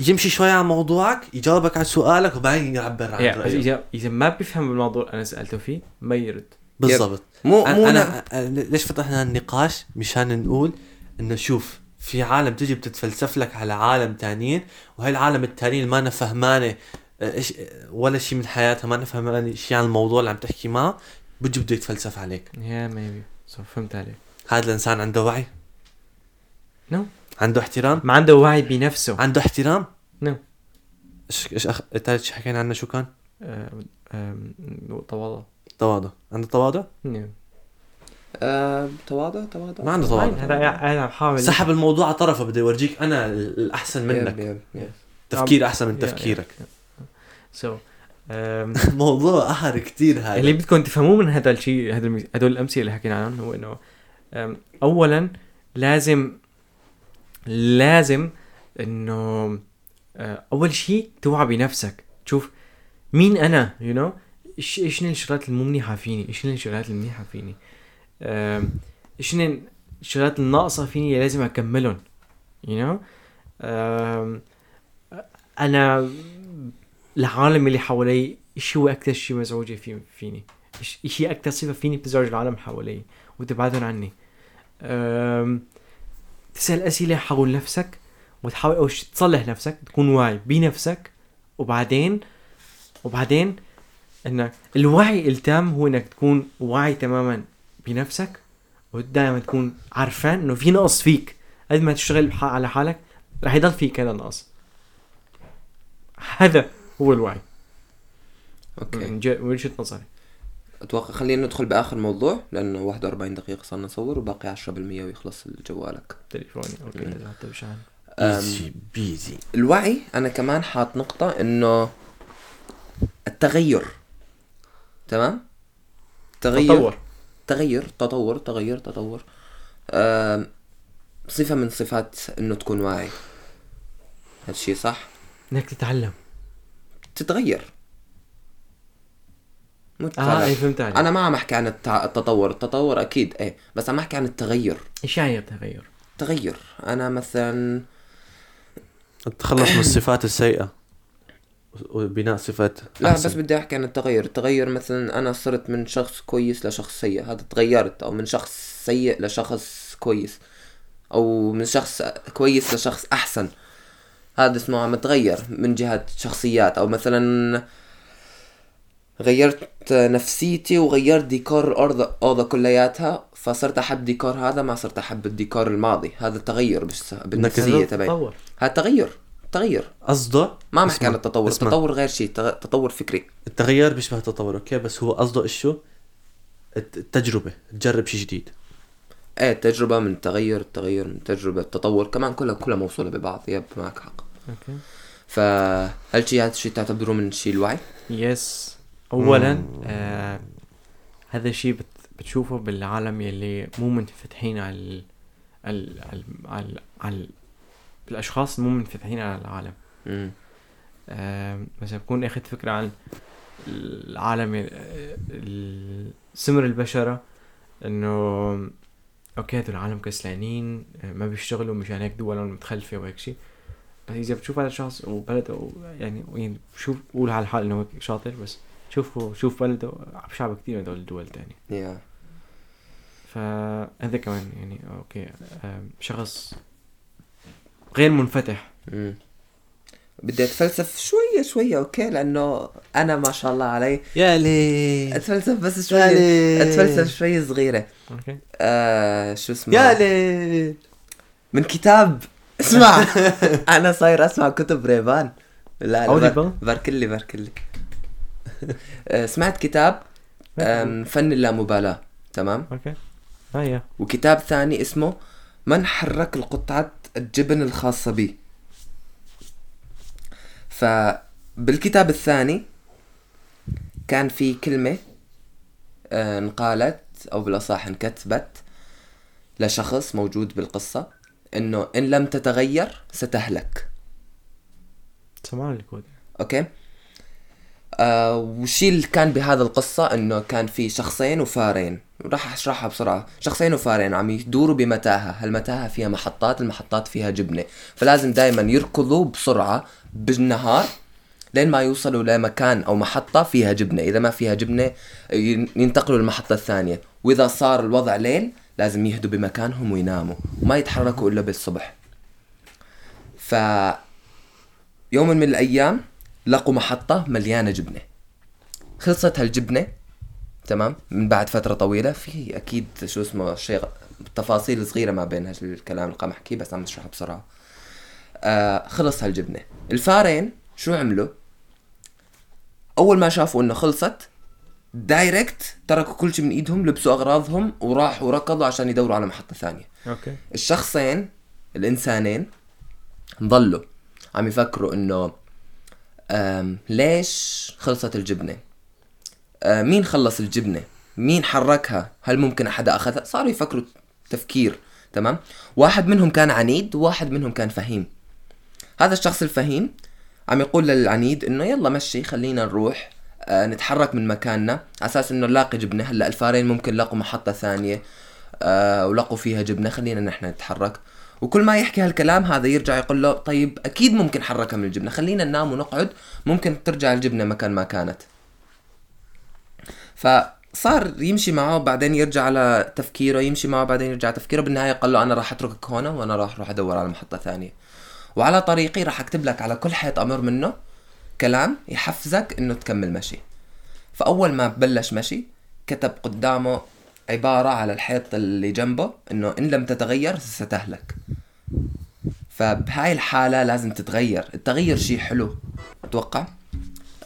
Speaker 2: يمشي شوي عن موضوعك يجاوبك عن سؤالك وبعدين يعبر عن
Speaker 1: يعني بس
Speaker 2: رأيه
Speaker 1: اذا اذا ما بيفهم بالموضوع اللي انا سالته فيه ما يرد
Speaker 2: بالضبط
Speaker 3: مو مو
Speaker 2: انا
Speaker 3: أنا...
Speaker 2: أنا- أنا ليش فتحنا النقاش مشان نقول انه شوف في عالم تجي بتتفلسف لك على عالم تانيين وهي العالم التانيين اللي ما أنا فهمانه آه، ايش آه، ولا شيء من حياتها ما أنا فهمانه شيء عن الموضوع اللي عم تحكي معه بيجي بده يتفلسف عليك
Speaker 1: يا ميبي فهمت عليك
Speaker 2: هذا الانسان عنده وعي
Speaker 1: No.
Speaker 2: عنده احترام
Speaker 1: ما عنده وعي بنفسه
Speaker 2: عنده احترام
Speaker 1: No.
Speaker 2: ايش ايش أخ... تالت شي حكينا عنه شو كان
Speaker 1: آم، آه، آم، تواضع
Speaker 2: تواضع عنده تواضع
Speaker 1: نعم.
Speaker 3: آه... تواضع تواضع
Speaker 2: ما عنده
Speaker 1: هاي-
Speaker 2: تواضع
Speaker 1: هذا انا عم بحاول
Speaker 2: سحب الموضوع على طرفه بده يورجيك انا الاحسن
Speaker 3: يب،
Speaker 2: منك
Speaker 3: يب، يب.
Speaker 2: تفكير احسن من تفكيرك
Speaker 1: سو um,
Speaker 2: موضوع قهر كتير
Speaker 1: اللي
Speaker 2: هاي
Speaker 1: بدكم تفهموه من هذا الشيء هذا المس- هدول الامثله اللي حكينا عنهم هو انه أم، اولا لازم لازم انه أه، اول شيء توعى بنفسك تشوف مين انا يو you نو know? إيش- ايش هن الشغلات المو منيحه فيني ايش هن الشغلات المنيحه فيني أم، ايش هن الشغلات الناقصه فيني اللي لازم اكملهم يو نو انا العالم اللي حوالي ايش هو اكثر شيء مزعوجه فيه فيني ايش إيش هي اكثر صفه فيني بتزعج العالم حوالي وتبعدهم عني أم، تسال اسئله حول نفسك وتحاول او شي تصلح نفسك تكون واعي بنفسك وبعدين وبعدين انك الوعي التام هو انك تكون واعي تماما بنفسك ودائما تكون عارفان انه في نقص فيك قد ما تشتغل بح- على حالك رح يضل فيك هذا النقص هذا هو الوعي
Speaker 3: اوكي
Speaker 1: من ج- من وجهه نظري
Speaker 3: اتوقع خلينا ندخل باخر موضوع لانه 41 دقيقه صرنا نصور وباقي 10% ويخلص جوالك
Speaker 1: تليفوني اوكي هذا حتى مشان
Speaker 2: بيزي بيزي
Speaker 3: الوعي انا كمان حاط نقطه انه التغير تمام تغير
Speaker 1: تطور
Speaker 3: تغير تطور تغير تطور آم، صفة من صفات انه تكون واعي هالشي صح
Speaker 1: انك تتعلم
Speaker 3: تتغير مو
Speaker 1: اه اي
Speaker 3: تتعرف.
Speaker 1: فهمت عليك
Speaker 3: انا ما عم احكي عن التع... التطور التطور اكيد ايه بس عم احكي عن التغير
Speaker 1: ايش يعني التغير؟
Speaker 3: تغير انا مثلا
Speaker 2: التخلص من الصفات السيئة وبناء صفات
Speaker 3: لا
Speaker 2: أحسن.
Speaker 3: بس بدي احكي عن التغير التغير مثلا انا صرت من شخص كويس لشخص سيء هذا تغيرت او من شخص سيء لشخص كويس او من شخص كويس لشخص احسن هذا اسمه عم اتغير من جهة شخصيات او مثلا غيرت نفسيتي وغيرت ديكور الأرض أوضة كلياتها فصرت أحب ديكور هذا ما صرت أحب الديكور الماضي هذا تغير بالس- بالنفسية
Speaker 1: هذا
Speaker 3: تبعي
Speaker 1: تطور
Speaker 3: هذا تغير تغير
Speaker 2: قصده
Speaker 3: ما عم احكي
Speaker 2: اسمع،
Speaker 3: عن التطور
Speaker 2: اسمع.
Speaker 3: التطور غير شيء التغ- تطور فكري
Speaker 2: التغير بيشبه التطور اوكي بس هو قصده ايش شو؟ الت- التجربة تجرب شيء جديد
Speaker 3: ايه التجربة من التغير التغير من التجربة التطور كمان كلها كلها موصولة ببعض يب معك حق
Speaker 1: اوكي
Speaker 3: فهل شيء هذا الشيء تعتبره من شيء الوعي؟
Speaker 1: يس اولا آه هذا الشيء بت بتشوفه بالعالم يلي مو منفتحين على ال على ال على, ال- على ال- الاشخاص مو منفتحين على العالم
Speaker 3: امم
Speaker 1: آم، مثلا بكون اخذت فكره عن العالم آه، ال- ال- سمر البشره انه اوكي هدول العالم كسلانين آه، ما بيشتغلوا مشان هيك دولهم متخلفه وهيك شيء بس اذا بتشوف هذا الشخص وبلده و- يعني يعني بشوف قول على الحال انه هيك شاطر بس شوفه شوف بلده عم شعب كثير من هدول الدول الثانيه
Speaker 3: يا
Speaker 1: فهذا كمان يعني اوكي آم، شخص غير منفتح
Speaker 3: مم. بدي اتفلسف شويه شويه اوكي لانه انا ما شاء الله علي
Speaker 2: يا لي
Speaker 3: اتفلسف بس
Speaker 2: يا
Speaker 3: شويه
Speaker 2: لي
Speaker 3: اتفلسف شويه صغيره
Speaker 1: اوكي
Speaker 3: آه شو اسمه
Speaker 2: يا لي
Speaker 3: من كتاب اسمع انا صاير اسمع كتب ريبان لا لا بر-
Speaker 1: Audible؟
Speaker 3: بركلي بركلي [LAUGHS] آه، سمعت كتاب آم، فن اللامبالاة تمام
Speaker 1: اوكي اه يا
Speaker 3: وكتاب ثاني اسمه من حرك القطعة الجبن الخاصة بي فبالكتاب الثاني كان في كلمة آه، انقالت أو بالأصح انكتبت لشخص موجود بالقصة إنه إن لم تتغير ستهلك
Speaker 1: سمعوا الكود
Speaker 3: اوكي آه والشيء اللي كان بهذا القصة انه كان في شخصين وفارين راح اشرحها بسرعة شخصين وفارين عم يدوروا بمتاهة هالمتاهة فيها محطات المحطات فيها جبنة فلازم دايما يركضوا بسرعة بالنهار لين ما يوصلوا لمكان او محطة فيها جبنة اذا ما فيها جبنة ين- ينتقلوا للمحطة الثانية واذا صار الوضع ليل لازم يهدوا بمكانهم ويناموا وما يتحركوا الا بالصبح ف يوم من الايام لقوا محطة مليانة جبنة خلصت هالجبنة تمام من بعد فترة طويلة في اكيد شو اسمه شيء تفاصيل صغيرة ما بين هالكلام اللي قام احكيه بس عم اشرحه بسرعة آه خلص هالجبنة الفارين شو عملوا اول ما شافوا انه خلصت دايركت تركوا كل شيء من ايدهم لبسوا اغراضهم وراحوا ركضوا عشان يدوروا على محطة ثانية
Speaker 1: اوكي
Speaker 3: الشخصين الانسانين ضلوا عم يفكروا انه أم، ليش خلصت الجبنه أم، مين خلص الجبنه مين حركها هل ممكن حدا اخذها صاروا يفكروا تفكير تمام واحد منهم كان عنيد وواحد منهم كان فهيم هذا الشخص الفهيم عم يقول للعنيد انه يلا مشي خلينا نروح آه، نتحرك من مكاننا على اساس انه نلاقي جبنه هلا الفارين ممكن لاقوا محطه ثانيه آه، ولقوا فيها جبنه خلينا نحن نتحرك وكل ما يحكي هالكلام هذا يرجع يقول له طيب اكيد ممكن حركها من الجبنه خلينا ننام ونقعد ممكن ترجع الجبنه مكان ما كانت فصار يمشي معه بعدين يرجع على تفكيره يمشي معه بعدين يرجع على تفكيره بالنهايه قال له انا راح اتركك هنا وانا راح اروح ادور على محطه ثانيه وعلى طريقي راح اكتب لك على كل حيط امر منه كلام يحفزك انه تكمل مشي فاول ما بلش مشي كتب قدامه عبارة على الحيط اللي جنبه انه ان لم تتغير ستهلك فبهاي الحالة لازم تتغير التغير شيء حلو اتوقع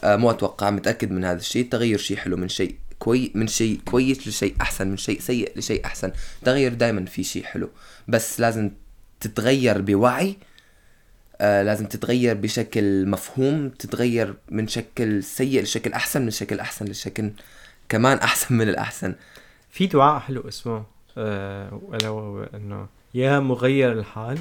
Speaker 3: آه مو اتوقع متأكد من هذا الشيء التغير شيء حلو من شيء كوي من شيء كويس لشيء احسن من شيء سيء لشيء احسن التغير دائما في شيء حلو بس لازم تتغير بوعي آه لازم تتغير بشكل مفهوم تتغير من شكل سيء لشكل احسن من شكل احسن لشكل كمان احسن من الاحسن
Speaker 1: في دعاء حلو اسمه آه، الا وهو انه يا مغير الحال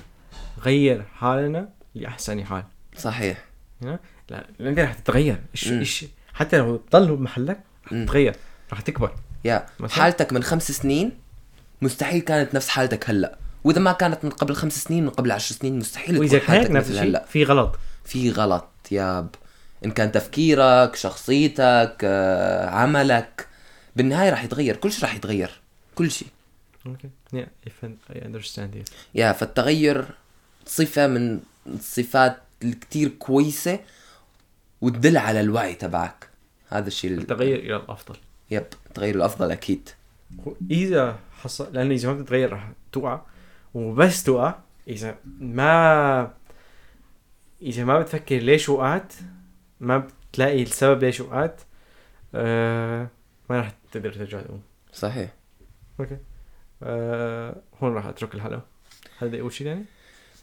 Speaker 1: غير حالنا لاحسن حال
Speaker 3: صحيح
Speaker 1: هنا لا انت رح تتغير إيش
Speaker 3: مم.
Speaker 1: إيش حتى لو تضل بمحلك رح
Speaker 3: مم.
Speaker 1: تتغير رح تكبر
Speaker 3: يا
Speaker 1: مثلاً؟
Speaker 3: حالتك من خمس سنين مستحيل كانت نفس حالتك هلا واذا ما كانت من قبل خمس سنين من قبل عشر سنين مستحيل
Speaker 1: واذا كان
Speaker 3: تكون حالتك
Speaker 1: هيك نفس
Speaker 3: مثل
Speaker 1: الشيء
Speaker 3: هلا
Speaker 1: في غلط
Speaker 3: في غلط ياب ان كان تفكيرك شخصيتك آه، عملك بالنهايه راح يتغير كل شيء راح يتغير كل شيء
Speaker 1: اوكي yeah if I- I understand you
Speaker 3: يا فالتغير صفة من الصفات الكتير كويسة وتدل على الوعي تبعك هذا الشيء ال-
Speaker 1: التغير الى الافضل
Speaker 3: يب التغير الأفضل أكيد
Speaker 1: اذا حصل لانه اذا ما بتتغير رح تقع وبس تقع اذا ما اذا ما بتفكر ليش وقعت ما بتلاقي السبب ليش وقعت آه ما رح تقدر ترجع تقوم
Speaker 3: صحيح
Speaker 1: اوكي آه هون راح اترك الحلقه هل بدي اقول شيء ثاني؟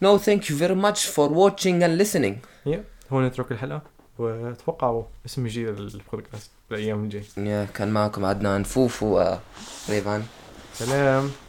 Speaker 3: No thank you very much for watching and listening
Speaker 1: يا هون نترك الحلقه وتوقعوا اسم جديد للبودكاست الايام الجاي
Speaker 3: يا كان معكم عدنان فوفو وريفان
Speaker 1: سلام